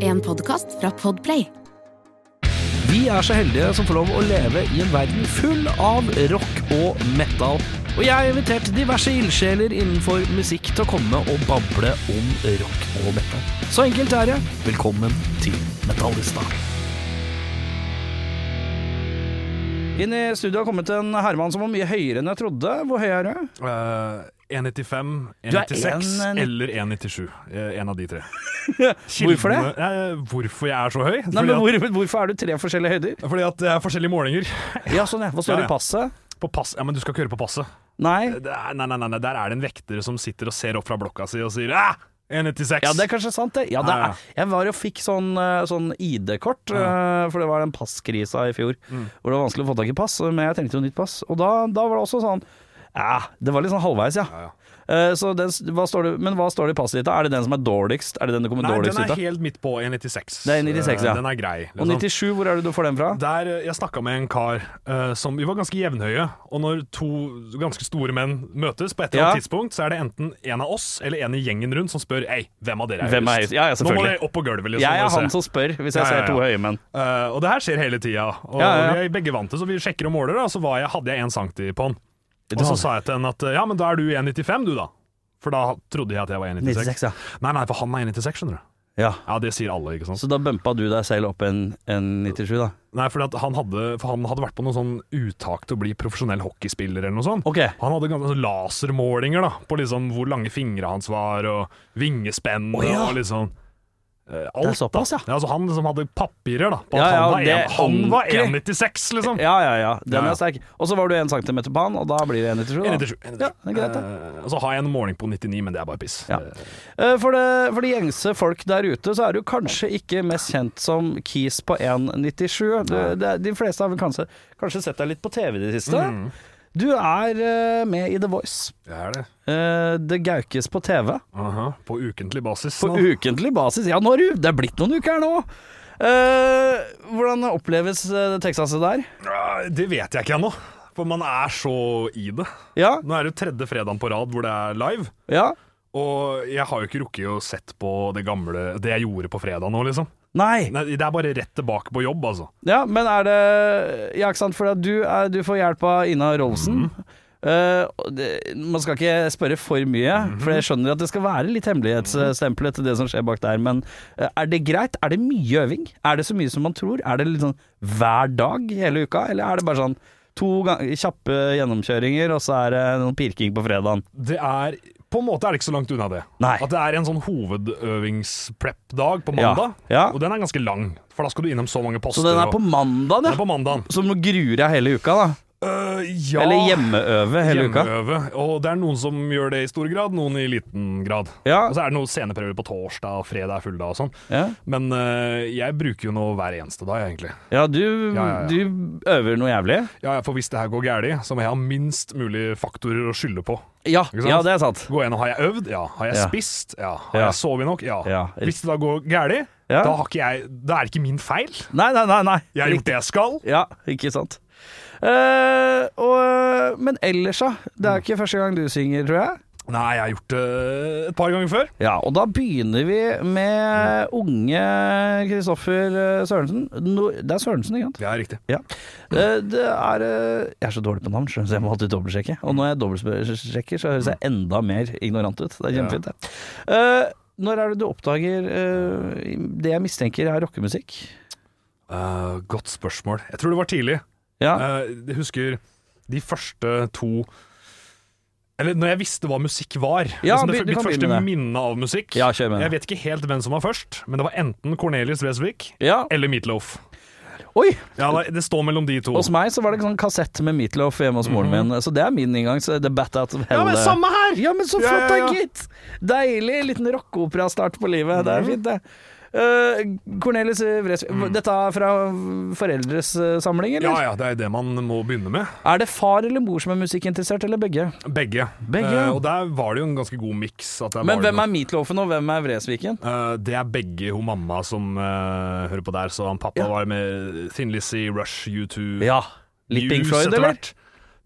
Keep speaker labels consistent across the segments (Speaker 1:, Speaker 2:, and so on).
Speaker 1: En podkast fra Podplay.
Speaker 2: Vi er så heldige som får lov å leve i en verden full av rock og metal. Og jeg har invitert diverse ildsjeler innenfor musikk til å komme og bable om rock og metal. Så enkelt er det. Velkommen til Metallista. Inn i studio har kommet en Herman som var mye høyere enn jeg trodde. Hvor høy er du?
Speaker 3: Eh, 1,95,
Speaker 2: er
Speaker 3: 1,96
Speaker 2: en-
Speaker 3: eller 1,97. Eh, En av de tre.
Speaker 2: Hvorfor det?
Speaker 3: Kildene- eh, hvorfor jeg er så høy?
Speaker 2: Nei,
Speaker 3: fordi,
Speaker 2: men
Speaker 3: at,
Speaker 2: hvor, hvorfor er du tre forskjellige høyder?
Speaker 3: fordi at det er forskjellige målinger.
Speaker 2: Ja, sånn ja. Hva
Speaker 3: Ja,
Speaker 2: står det
Speaker 3: ja.
Speaker 2: i passet?
Speaker 3: På pass, ja, men du skal ikke høre på passet.
Speaker 2: Nei.
Speaker 3: Det er, nei, nei, nei, nei, Der er det en vekter som sitter og ser opp fra blokka si og sier ah, 1,96.
Speaker 2: Ja, det er kanskje sant, det. Ja, det
Speaker 3: Ja, ja.
Speaker 2: er. Jeg var og fikk sånn, eh, sånn ID-kort,
Speaker 3: Ah.
Speaker 2: eh, for det var den passkrisa i fjor.
Speaker 3: Mm.
Speaker 2: Hvor det var vanskelig å få tak i pass, men jeg trengte jo nytt pass. Og da, da var det også sånn Ja, det var litt sånn halvveis, ja.
Speaker 3: Ja, ja.
Speaker 2: Eh, Så den, s- hva står det, men hva står det i passet ditt? da? Er det den som er dårligst? Er det den du kommer
Speaker 3: Nei, den
Speaker 2: dårligst ut
Speaker 3: er
Speaker 2: av?
Speaker 3: helt midt på 1,96.
Speaker 2: Det er 1,96, ja.
Speaker 3: Eh, Den er grei.
Speaker 2: Og
Speaker 3: liksom.
Speaker 2: 97, hvor er det du får den fra?
Speaker 3: Der, eh, jeg snakka med en kar eh, som Vi var ganske jevnhøye. Og når to ganske store menn møtes, på et eller annet
Speaker 2: Ja.
Speaker 3: tidspunkt så er det enten en av oss eller en i gjengen rundt som spør Ei, hvem av dere er
Speaker 2: Hvem er
Speaker 3: høyest?
Speaker 2: høyest? Ja, ja,
Speaker 3: Nå må
Speaker 2: selvfølgelig.
Speaker 3: dere opp på gulvet. Liksom,
Speaker 2: Jeg
Speaker 3: og
Speaker 2: er han
Speaker 3: se.
Speaker 2: som spør, hvis
Speaker 3: Ja,
Speaker 2: jeg ser
Speaker 3: ja,
Speaker 2: to
Speaker 3: ja.
Speaker 2: høye menn.
Speaker 3: Eh, og det her skjer hele tida.
Speaker 2: Ja,
Speaker 3: Og
Speaker 2: ja, ja.
Speaker 3: vi er begge vant til, så vi sjekker og måler. Da, så var jeg, hadde jeg én centi på han.
Speaker 2: Du
Speaker 3: Og så
Speaker 2: hadde-
Speaker 3: sa jeg til henne at ja, men da er du 1,95 du, da. For da trodde jeg at jeg var 1,96.
Speaker 2: 96, ja.
Speaker 3: Nei, nei, for han er 1,96, skjønner du.
Speaker 2: ja.
Speaker 3: Ja, det sier alle, ikke sant.
Speaker 2: Så da bumpa du deg selv opp en, en 97, da?
Speaker 3: Nei, fordi at han hadde, for han hadde vært på noe sånn uttak til å bli profesjonell hockeyspiller eller noe sånt.
Speaker 2: Ok.
Speaker 3: Han hadde ganske sånn lasermålinger da, på liksom hvor lange fingre hans var, og vingespenn
Speaker 2: Å, ja.
Speaker 3: og liksom eh, alt,
Speaker 2: Det er såpass, ja.
Speaker 3: da. altså, han som hadde papirer da, på
Speaker 2: Ja,
Speaker 3: at
Speaker 2: ja,
Speaker 3: han,
Speaker 2: det er
Speaker 3: var en, han var
Speaker 2: ordentlig.
Speaker 3: 1,96 liksom.
Speaker 2: Ja, ja, ja. Den
Speaker 3: Ja, ja.
Speaker 2: er sterk. Og så var du en centimeter på han, og da blir det 1,97. da.
Speaker 3: 1,97. 1,97.
Speaker 2: Ja, det er greit, det.
Speaker 3: Eh, og så har jeg en måling på 99, men det er bare piss.
Speaker 2: Ja.
Speaker 3: Eh,
Speaker 2: Eh, For, det, for de gjengse folk der ute, så er du kanskje ikke mest kjent som Keys på 1,97. Du- det er- De fleste har vel kanskje, kanskje sett deg litt på TV i det siste. Du er eh, med i The Voice.
Speaker 3: Det er det.
Speaker 2: Eh, Det gaukes på TV
Speaker 3: Aha, på ukentlig basis.
Speaker 2: på
Speaker 3: nå.
Speaker 2: ukentlig basis. Ja, nå har du- det er blitt noen uker her nå. Eh, hvordan oppleves eh, det Texaset der?
Speaker 3: Eh, Det vet jeg ikke ennå, for man er så i det.
Speaker 2: Ja,
Speaker 3: Nå er det jo tredje fredagen på rad hvor det er live.
Speaker 2: ja.
Speaker 3: Og jeg har jo ikke rukket å sett på det gamle Det jeg gjorde på fredag nå, liksom.
Speaker 2: Nei.
Speaker 3: Nei, det er bare rett tilbake på jobb, altså.
Speaker 2: Ja, men er det Ja, ikke sant, for at du, er, du får hjelp av Ina Rolsen.
Speaker 3: Mhm.
Speaker 2: Eh, og det, man skal ikke spørre for mye,
Speaker 3: Mhm.
Speaker 2: for jeg skjønner at det skal være litt hemmelighetsstempel etter det som skjer bak der, men eh, er det greit? Er det mye øving? Er det så mye som man tror? Er det litt sånn hver dag hele uka, eller er det bare sånn to gang, kjappe gjennomkjøringer, og så er det noen pirking på fredagen?
Speaker 3: Det er På en måte er det ikke så langt unna det.
Speaker 2: Nei.
Speaker 3: At det er en sånn hovedøvingsprep-dag på
Speaker 2: Ja,
Speaker 3: mandag,
Speaker 2: ja.
Speaker 3: og den er ganske lang. For da skal du innom så mange poster.
Speaker 2: Så den er
Speaker 3: og-
Speaker 2: på mandagen,
Speaker 3: den
Speaker 2: ja?
Speaker 3: er på mandagen.
Speaker 2: Så nå gruer jeg hele uka, da?
Speaker 3: Øh, ja.
Speaker 2: Eller hjemmeøve hele uka?
Speaker 3: Hjemmeøve. Og det er noen som gjør det i stor grad, noen i liten grad.
Speaker 2: Ja.
Speaker 3: Og så er det noen sceneprøver på torsdag, og fredag er fulldag og sånn.
Speaker 2: ja.
Speaker 3: Men øh, jeg bruker jo nå hver eneste dag, egentlig.
Speaker 2: Ja, du,
Speaker 3: Ja, ja, ja.
Speaker 2: du øver noe jævlig?
Speaker 3: Ja, ja, for hvis det her går galt, så må jeg ha minst mulig faktorer å skylde på.
Speaker 2: Ja,
Speaker 3: Ikke sant?
Speaker 2: ja, det er sant.
Speaker 3: Gå gjennom, Har jeg øvd? Ja. Har jeg
Speaker 2: Ja.
Speaker 3: spist? Ja. Har
Speaker 2: Ja.
Speaker 3: jeg sovet nok? Ja.
Speaker 2: Ja.
Speaker 3: Hvis det da går galt,
Speaker 2: Ja.
Speaker 3: da, har ikke jeg- da er det ikke min feil.
Speaker 2: Nei, nei, nei. nei.
Speaker 3: Jeg har gjort det jeg skal.
Speaker 2: Ja, ikke sant. Eh, og, men ellers, da. Det
Speaker 3: Mm.
Speaker 2: er ikke første gang du synger, tror jeg.
Speaker 3: Nei, jeg har gjort det et par ganger før.
Speaker 2: Ja, Og da begynner vi med unge Kristoffer eh, Sørensen. No, det er Sørensen, ikke sant?
Speaker 3: Ja, riktig.
Speaker 2: Ja. Eh, det er eh, Jeg er så dårlig på navn, skjønner du, så jeg må alltid dobbeltsjekke. Og når jeg dobbeltsjekker, så høres jeg enda mer ignorant ut. Det er kjempefint, det. Eh, når er det du oppdager eh, det jeg mistenker er rockemusikk?
Speaker 3: Eh, godt spørsmål. Jeg tror det var tidlig.
Speaker 2: Ja.
Speaker 3: Eh, jeg husker de første to Eller når jeg visste hva musikk var.
Speaker 2: Ja,
Speaker 3: liksom det,
Speaker 2: be- du
Speaker 3: mitt
Speaker 2: kan begynne
Speaker 3: første
Speaker 2: med det.
Speaker 3: minne av musikk.
Speaker 2: Ja, kjør med det.
Speaker 3: jeg vet ikke helt hvem som var først, men det var enten Cornelius Vresvik
Speaker 2: ja.
Speaker 3: eller Meatloaf.
Speaker 2: Oi!
Speaker 3: Ja, nei, det står mellom de to.
Speaker 2: Hos meg så var det en sånn kassett med Meatloaf hjemme hos moren min, så det er min inngang. Så The Bat Out of Hell. eh.
Speaker 3: Ja, men samme her!
Speaker 2: Ja, men så
Speaker 3: Ja,
Speaker 2: flott, da,
Speaker 3: ja, ja.
Speaker 2: gitt! Deilig liten rockeoperastart på livet.
Speaker 3: Mm.
Speaker 2: Det er fint, det. Eh, Cornelis Vresvig Dette er fra foreldres eh, samling, eller?
Speaker 3: Ja, ja, det er det man må begynne med.
Speaker 2: Er det far eller mor som er musikkinteressert, eller begge?
Speaker 3: Begge.
Speaker 2: Begge,
Speaker 3: Eh,
Speaker 2: ja.
Speaker 3: og der var det jo en ganske god miks. at der
Speaker 2: Men
Speaker 3: var det
Speaker 2: hvem er Meatloafen, og hvem er Vresviken?
Speaker 3: noe- Eh, det er begge hun mamma som eh, hører på der, så han pappa var med Thin Lizzie, Rush, U2
Speaker 2: Ja. Litt Pink
Speaker 3: Muse
Speaker 2: Floyd,
Speaker 3: etter
Speaker 2: eller?
Speaker 3: hvert.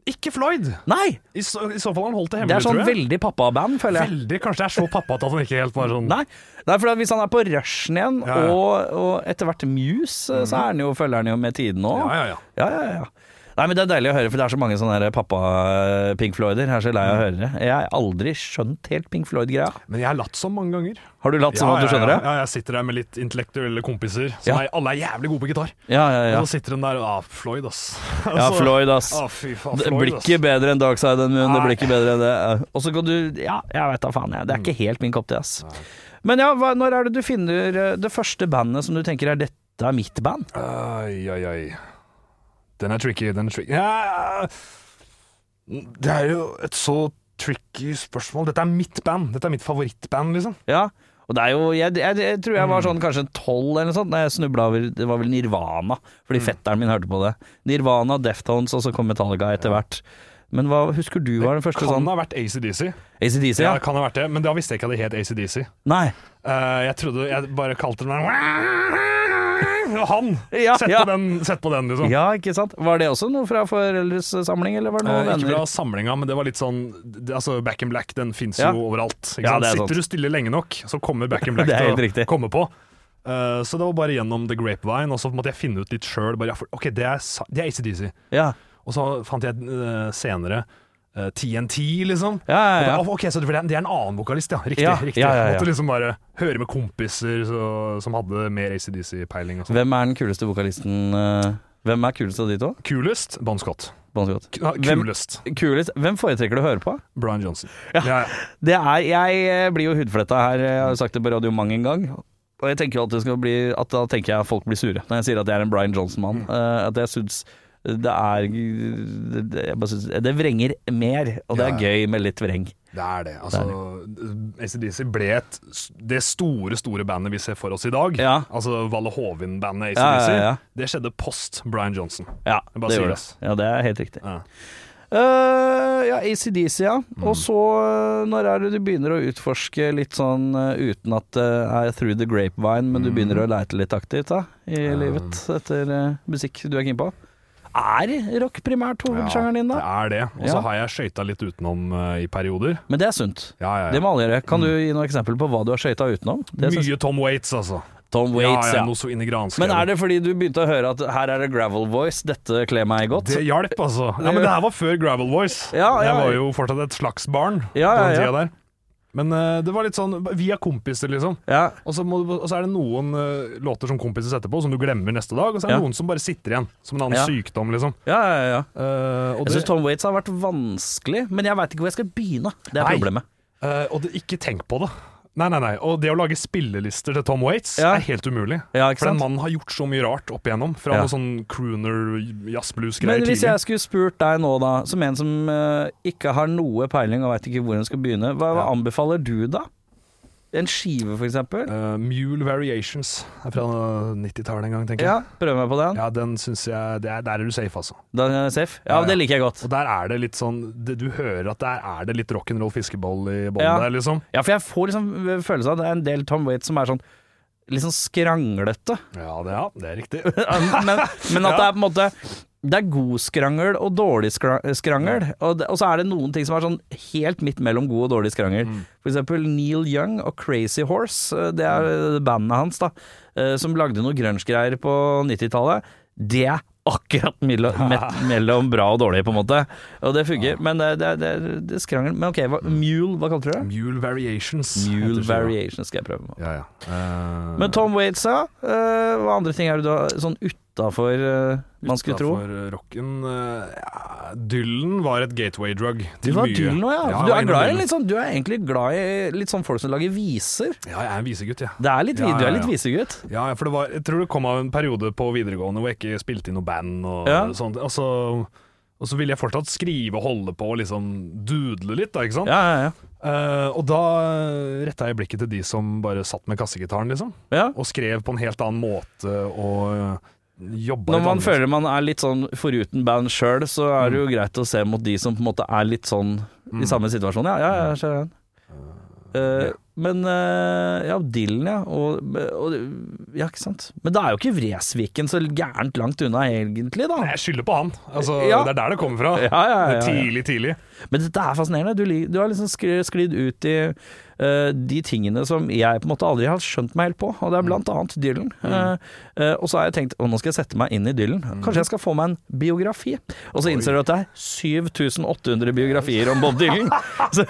Speaker 3: Ikke Floyd!
Speaker 2: Nei!
Speaker 3: I så, i så fall har han holdt det
Speaker 2: Det er
Speaker 3: hemmelig,
Speaker 2: sånn
Speaker 3: tror jeg.
Speaker 2: veldig pappaband, føler jeg.
Speaker 3: Veldig, Kanskje det er så pappate at han ikke helt bare sånn
Speaker 2: Nei, Nei for da, hvis han er på rushen igjen,
Speaker 3: Ja, ja. Mm.
Speaker 2: Og, og etter hvert Muse, så er han jo, følger han jo med tiden nå.
Speaker 3: Ja, ja, ja.
Speaker 2: Ja, ja, ja. Nei, men Det er deilig å høre, for det er så mange sånne der pappa-Pink Floyder. Jeg er så lei av å høre det. Jeg har aldri skjønt helt Pink Floyd-greia.
Speaker 3: Men jeg har latt som mange ganger.
Speaker 2: Har du latt som
Speaker 3: Ja,
Speaker 2: at du
Speaker 3: ja,
Speaker 2: skjønner
Speaker 3: ja,
Speaker 2: det?
Speaker 3: Ja, jeg sitter der med litt intellektuelle kompiser som
Speaker 2: Ja.
Speaker 3: er, alle er jævlig gode på gitar.
Speaker 2: Ja, ja, ja.
Speaker 3: Og så sitter de der ah, Floyd, ass.
Speaker 2: Ja,
Speaker 3: Altså,
Speaker 2: Floyd, ass.
Speaker 3: Ah, fy faen,
Speaker 2: Det
Speaker 3: Floyd,
Speaker 2: blir ikke
Speaker 3: ass.
Speaker 2: bedre enn Darkside enn Moon, det
Speaker 3: Nei.
Speaker 2: blir ikke bedre enn det. Mm. Og så kan du Ja, jeg veit da faen, jeg. Det er ikke helt min kopp te, ass. Men ja, hva, når er det du finner eh, det første bandet som du tenker er dette er mitt band?
Speaker 3: Ai, ai, ai. Den er tricky, den er tricky. Ja. Det er jo et så tricky spørsmål. Dette er mitt band. Dette er mitt favorittband, liksom.
Speaker 2: Ja. Og det er jo Jeg, jeg, jeg tror jeg var sånn kanskje tolv eller noe sånt da jeg snubla over Det var vel Nirvana, fordi
Speaker 3: Mm.
Speaker 2: fetteren min hørte på det. Nirvana, Deftones, og så kom Metallica etter hvert. Men hva husker du var den første
Speaker 3: Kan
Speaker 2: sånn
Speaker 3: ha vært ACDC.
Speaker 2: ACDC?
Speaker 3: Ja.
Speaker 2: Ja.
Speaker 3: kan ha vært det, men da visste jeg ikke at det het ACDC.
Speaker 2: Nei.
Speaker 3: Eh, jeg trodde Jeg bare kalte den der Og han!
Speaker 2: Ja,
Speaker 3: sett,
Speaker 2: ja.
Speaker 3: På den, sett på den, liksom.
Speaker 2: Ja, ikke sant. Var det også noe fra foreldres samling, eller var det noen
Speaker 3: Eh, ikke
Speaker 2: venner?
Speaker 3: fra samlinga, men det var litt sånn det, altså Back in Black den fins
Speaker 2: Ja.
Speaker 3: jo overalt. Ikke
Speaker 2: Ja,
Speaker 3: sant?
Speaker 2: det er sant.
Speaker 3: Sitter du stille lenge nok, så kommer Back in Black
Speaker 2: Det er
Speaker 3: til å
Speaker 2: helt riktig.
Speaker 3: komme på. Eh, så det var bare gjennom The Grapevine, og så måtte jeg finne ut litt sjøl. OK, det er, sa- det er ACDC.
Speaker 2: Ja.
Speaker 3: Og så fant jeg eh, senere eh, TNT, liksom.
Speaker 2: Ja, ja, ja.
Speaker 3: Og da, ok, så det for det er- det er en annen vokalist, ja. Riktig.
Speaker 2: Ja,
Speaker 3: riktig.
Speaker 2: ja, ja, ja.
Speaker 3: Måtte liksom bare høre med kompiser så, som hadde mer ACDC-peiling. og sånn. sånt.
Speaker 2: Hvem er den kuleste vokalisten eh, Hvem er kulest av de to?
Speaker 3: Kulest Bon Scott.
Speaker 2: Bon Scott.
Speaker 3: K- ja,
Speaker 2: Hvem-
Speaker 3: Kulest
Speaker 2: Kulest. Hvem foretrekker du å høre på?
Speaker 3: Brian Johnson. Ja, ja.
Speaker 2: Det er, jeg eh, blir jo hudfletta her, eh, jeg har jo sagt det på radio mang en gang. Og jeg tenker jo at, det skal bli, at da tenker jeg at folk blir sure når jeg sier at jeg er en Brian Johnson-mann. Eh, at jeg syns det er det, det- jeg bare synes, det vrenger mer, og det er
Speaker 3: Ja,
Speaker 2: gøy med litt vreng.
Speaker 3: Det er det. Altså, ACDC ble et, det store, store bandet vi ser for oss i dag.
Speaker 2: Ja.
Speaker 3: Altså Valle Hovin-bandet
Speaker 2: Ja,
Speaker 3: ACDC.
Speaker 2: ja, ja.
Speaker 3: Det skjedde post Brian Johnson.
Speaker 2: Ja,
Speaker 3: Jeg bare
Speaker 2: det
Speaker 3: sier
Speaker 2: gjør
Speaker 3: det.
Speaker 2: det. Ja, det er helt riktig.
Speaker 3: Ja. Mm.
Speaker 2: Eh, ja, ACDC, ja. Og så, eh, når er det du begynner å utforske litt sånn eh, uten at det er through the grapevine, men du
Speaker 3: Mm.
Speaker 2: begynner å leite litt aktivt da, i livet etter eh, musikk du er keen på? Er rock primært hovedsjangeren din, da?
Speaker 3: Det er det. Og så
Speaker 2: Ja.
Speaker 3: har jeg skøyta litt utenom eh, i perioder.
Speaker 2: Men det er sunt.
Speaker 3: Ja, ja,
Speaker 2: Det
Speaker 3: ja.
Speaker 2: må alle gjøre. Kan du gi noen eksempel på hva du har skøyta utenom? Det synes-
Speaker 3: Mye Tom Waits, altså.
Speaker 2: Tom Waits,
Speaker 3: ja,
Speaker 2: ja.
Speaker 3: ja, noe så inn i granskrevet.
Speaker 2: Men er det fordi du begynte å høre at her er det gravel voice, dette kler meg godt?
Speaker 3: Det hjalp, altså. Ja, men det her var før Gravel Voice.
Speaker 2: Ja, ja.
Speaker 3: Jeg var jo fortsatt et slags barn
Speaker 2: Ja, ja,
Speaker 3: på den
Speaker 2: ja.
Speaker 3: tida der. Men eh, det var litt sånn via kompiser, liksom.
Speaker 2: Ja,
Speaker 3: Og så, må du, og så er det noen eh, låter som kompiser setter på, som du glemmer neste dag. Og så er det
Speaker 2: Ja.
Speaker 3: noen som bare sitter igjen, som en annen
Speaker 2: Ja.
Speaker 3: sykdom, liksom.
Speaker 2: ja, ja. ja.
Speaker 3: Eh,
Speaker 2: Jeg
Speaker 3: og, det,
Speaker 2: syns Tom Waits har vært vanskelig, men jeg veit ikke hvor jeg skal begynne. Det er
Speaker 3: Nei.
Speaker 2: problemet.
Speaker 3: eh, og det, ikke tenk på det. Nei, nei, nei. Og det å lage spillelister til Tom Waits
Speaker 2: Ja.
Speaker 3: er helt umulig.
Speaker 2: Ja, ikke
Speaker 3: For
Speaker 2: sant?
Speaker 3: den mannen har gjort så mye rart opp igjennom. Fra
Speaker 2: Ja.
Speaker 3: noe sånn crooner, jazz-blues-greier
Speaker 2: Men hvis
Speaker 3: tidlig.
Speaker 2: jeg skulle spurt deg nå, da, som en som eh, ikke har noe peiling og veit ikke hvor en skal begynne, hva, hva
Speaker 3: Ja.
Speaker 2: anbefaler du da? En skive, for eksempel?
Speaker 3: Eh, Mule Variations er fra 90-tallet en gang, tenker jeg.
Speaker 2: Ja, prøv meg på den.
Speaker 3: Ja, den syns jeg det er, Der er du safe, altså.
Speaker 2: Da er jeg safe?
Speaker 3: Ja,
Speaker 2: Ja,
Speaker 3: ja.
Speaker 2: det liker jeg godt.
Speaker 3: Og der er det litt sånn det, Du hører at der er det litt rock'n'roll fiskeboll i bånn
Speaker 2: Ja.
Speaker 3: der, liksom.
Speaker 2: Ja, for jeg får liksom følelse av at det er en del Tom Waits som er sånn Litt sånn skranglete.
Speaker 3: Ja, det, ja, det er riktig.
Speaker 2: Men, men at det er på en måte Det er god skrangel og dårlig skra- skrangel. Og, det, og så er det noen ting som er sånn helt midt mellom god og dårlig skrangel. For eksempel Neil Young og Crazy Horse, eh, det er eh,
Speaker 3: Mm.
Speaker 2: bandet hans, da, eh, som lagde noe grunge-greier på 90-tallet. Det er akkurat mellom, mellom bra og dårlig, på en måte. Og det fungerer. Men det, det, det, det er skrangel Men OK, hva, Mule, hva kalte du det?
Speaker 3: Mm. Mule Variations.
Speaker 2: Mule
Speaker 3: heter skiva.
Speaker 2: Variation skal jeg prøve meg på.
Speaker 3: Ja, ja. Eh,
Speaker 2: Men Tom Waits, ja. Eh, hva andre ting er det du har sånn utafor eh, man skulle tro?
Speaker 3: utenfor, eh, rocken eh, ja, Dylan var et gateway drug.
Speaker 2: Du
Speaker 3: til
Speaker 2: var
Speaker 3: mye.
Speaker 2: Dylan òg, ja.
Speaker 3: Ja,
Speaker 2: Du
Speaker 3: jeg
Speaker 2: er, glad i
Speaker 3: innom
Speaker 2: litt sånn, du er egentlig glad i litt sånn folk som lager viser.
Speaker 3: Dylan. Ja, jeg er en visegutt, jeg. Ja.
Speaker 2: Det er litt, vi-
Speaker 3: Ja,
Speaker 2: Du
Speaker 3: ja,
Speaker 2: er litt
Speaker 3: ja.
Speaker 2: visegutt.
Speaker 3: Ja, ja, for det var, jeg tror det kom av en periode på videregående hvor jeg ikke spilte i noe band og
Speaker 2: Ja.
Speaker 3: sånt. Og så, og så ville jeg fortsatt skrive og holde på og liksom dudle litt, da, ikke sant?
Speaker 2: Ja, ja, ja.
Speaker 3: Eh, og da retta jeg blikket til de som bare satt med kassegitaren, liksom.
Speaker 2: ja.
Speaker 3: Og skrev på en helt annen måte og eh, jobba
Speaker 2: Når man
Speaker 3: annerledes.
Speaker 2: føler man er litt sånn foruten band sjøl, så er det jo
Speaker 3: Mm.
Speaker 2: greit å se mot de som på en måte er litt sånn i samme situasjon. Ja, ja, ja. skjønner jeg. Eh, Men eh, ja, Dylan, ja. Og, og Ja, ikke sant. Men da er jo ikke Vresviken så gærent langt unna, egentlig, da.
Speaker 3: Jeg skylder på han. Altså,
Speaker 2: Ja.
Speaker 3: Det er der det kommer fra.
Speaker 2: Ja, ja, ja,
Speaker 3: Det er
Speaker 2: ja.
Speaker 3: Tidlig, tidlig.
Speaker 2: Men dette er fascinerende. Du, li- du har liksom skli- sklidd ut i eh, de tingene som jeg på en måte aldri har skjønt meg helt på, og det er
Speaker 3: Mm.
Speaker 2: blant annet Dylan. Eh, eh, og så har jeg tenkt å nå skal jeg sette meg inn i Dylan.
Speaker 3: Mm.
Speaker 2: Kanskje jeg skal få meg en biografi? Og så innser du at det er 7800 biografier om Bob Dylan. så,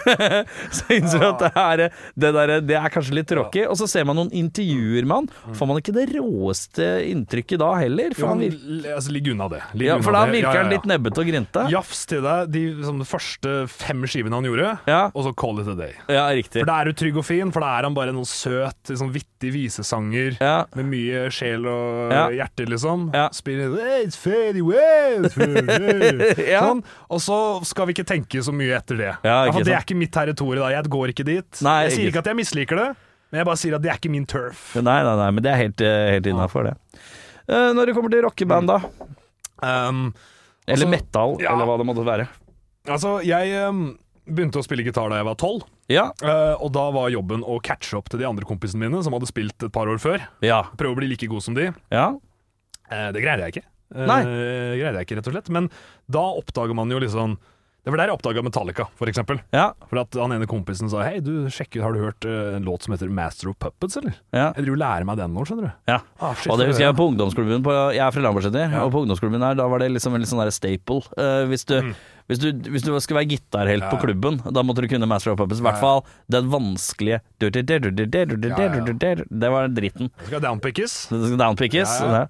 Speaker 2: så innser du at det er, eh, det, der, eh, det er kanskje litt tråkig. Og så ser man noen intervjuer med han. Får man ikke det råeste inntrykket da heller?
Speaker 3: Mm. Jo,
Speaker 2: For,
Speaker 3: han
Speaker 2: han, vir-
Speaker 3: altså, Ligg unna det. Ligg
Speaker 2: ja,
Speaker 3: unna
Speaker 2: for da
Speaker 3: det.
Speaker 2: virker
Speaker 3: Ja, ja,
Speaker 2: han
Speaker 3: ja.
Speaker 2: litt nebbete og grinte.
Speaker 3: Jafs til deg de liksom, de første fem skivene han gjorde,
Speaker 2: Ja.
Speaker 3: og så call it a day.
Speaker 2: Ja, riktig.
Speaker 3: For da er du trygg og fin, for da er han bare noen søt, liksom, vittig visesanger.
Speaker 2: Ja.
Speaker 3: Med mye sjel og
Speaker 2: Ja.
Speaker 3: hjerte, liksom.
Speaker 2: Ja.
Speaker 3: Spiller It's fade away, it's fade away.
Speaker 2: Ja.
Speaker 3: sånn. Og så skal vi ikke tenke så mye etter det.
Speaker 2: Ja, ikke
Speaker 3: for det
Speaker 2: sant.
Speaker 3: er ikke mitt territorium. da. Jeg går ikke dit.
Speaker 2: Nei,
Speaker 3: jeg sier
Speaker 2: ikke
Speaker 3: ikke at jeg misliker det, men jeg bare sier at det er ikke min turf.
Speaker 2: Nei, nei, nei, men det er helt, eh, helt innafor, det. Eh, når det kommer til rockeband, da.
Speaker 3: Um,
Speaker 2: Eller
Speaker 3: Altså,
Speaker 2: metal,
Speaker 3: ja.
Speaker 2: eller hva det måtte være.
Speaker 3: altså, jeg um, begynte å spille gitar da jeg var tolv.
Speaker 2: Ja.
Speaker 3: Eh, og da var jobben å catche opp til de andre kompisene mine som hadde spilt et par år før.
Speaker 2: Ja.
Speaker 3: Prøve å bli like god som de.
Speaker 2: ja.
Speaker 3: Eh, det greide jeg ikke. Eh,
Speaker 2: Nei.
Speaker 3: greide jeg ikke, rett og slett. Men da oppdager man jo liksom Det var der jeg oppdaga Metallica, for eksempel.
Speaker 2: Ja.
Speaker 3: For at han ene kompisen sa Hei, du, sjekk ut, har du hørt eh, en låt som heter Master of Puppets, eller?
Speaker 2: ja.
Speaker 3: Jeg driver og lærer meg den nå, skjønner du.
Speaker 2: ja.
Speaker 3: Ah, shit,
Speaker 2: Og det
Speaker 3: for
Speaker 2: husker jeg på ungdomsklubben på, Jeg er fra Lambertseter, og på ungdomsklubben her Da var det liksom en litt sånn der staple Eh, hvis, du, hvis, du, hvis du skulle være gitarhelt på
Speaker 3: Mm. Ja.
Speaker 2: klubben Da måtte du kunne Master of Puppets I hvert fall den vanskelige du- du- du- du- du- du- du-
Speaker 3: Ja, ja.
Speaker 2: du- du- du- Det var dritten
Speaker 3: Det Skal downpickes?
Speaker 2: Det skal downpickes
Speaker 3: Ja, Mm. ja.
Speaker 2: Ja,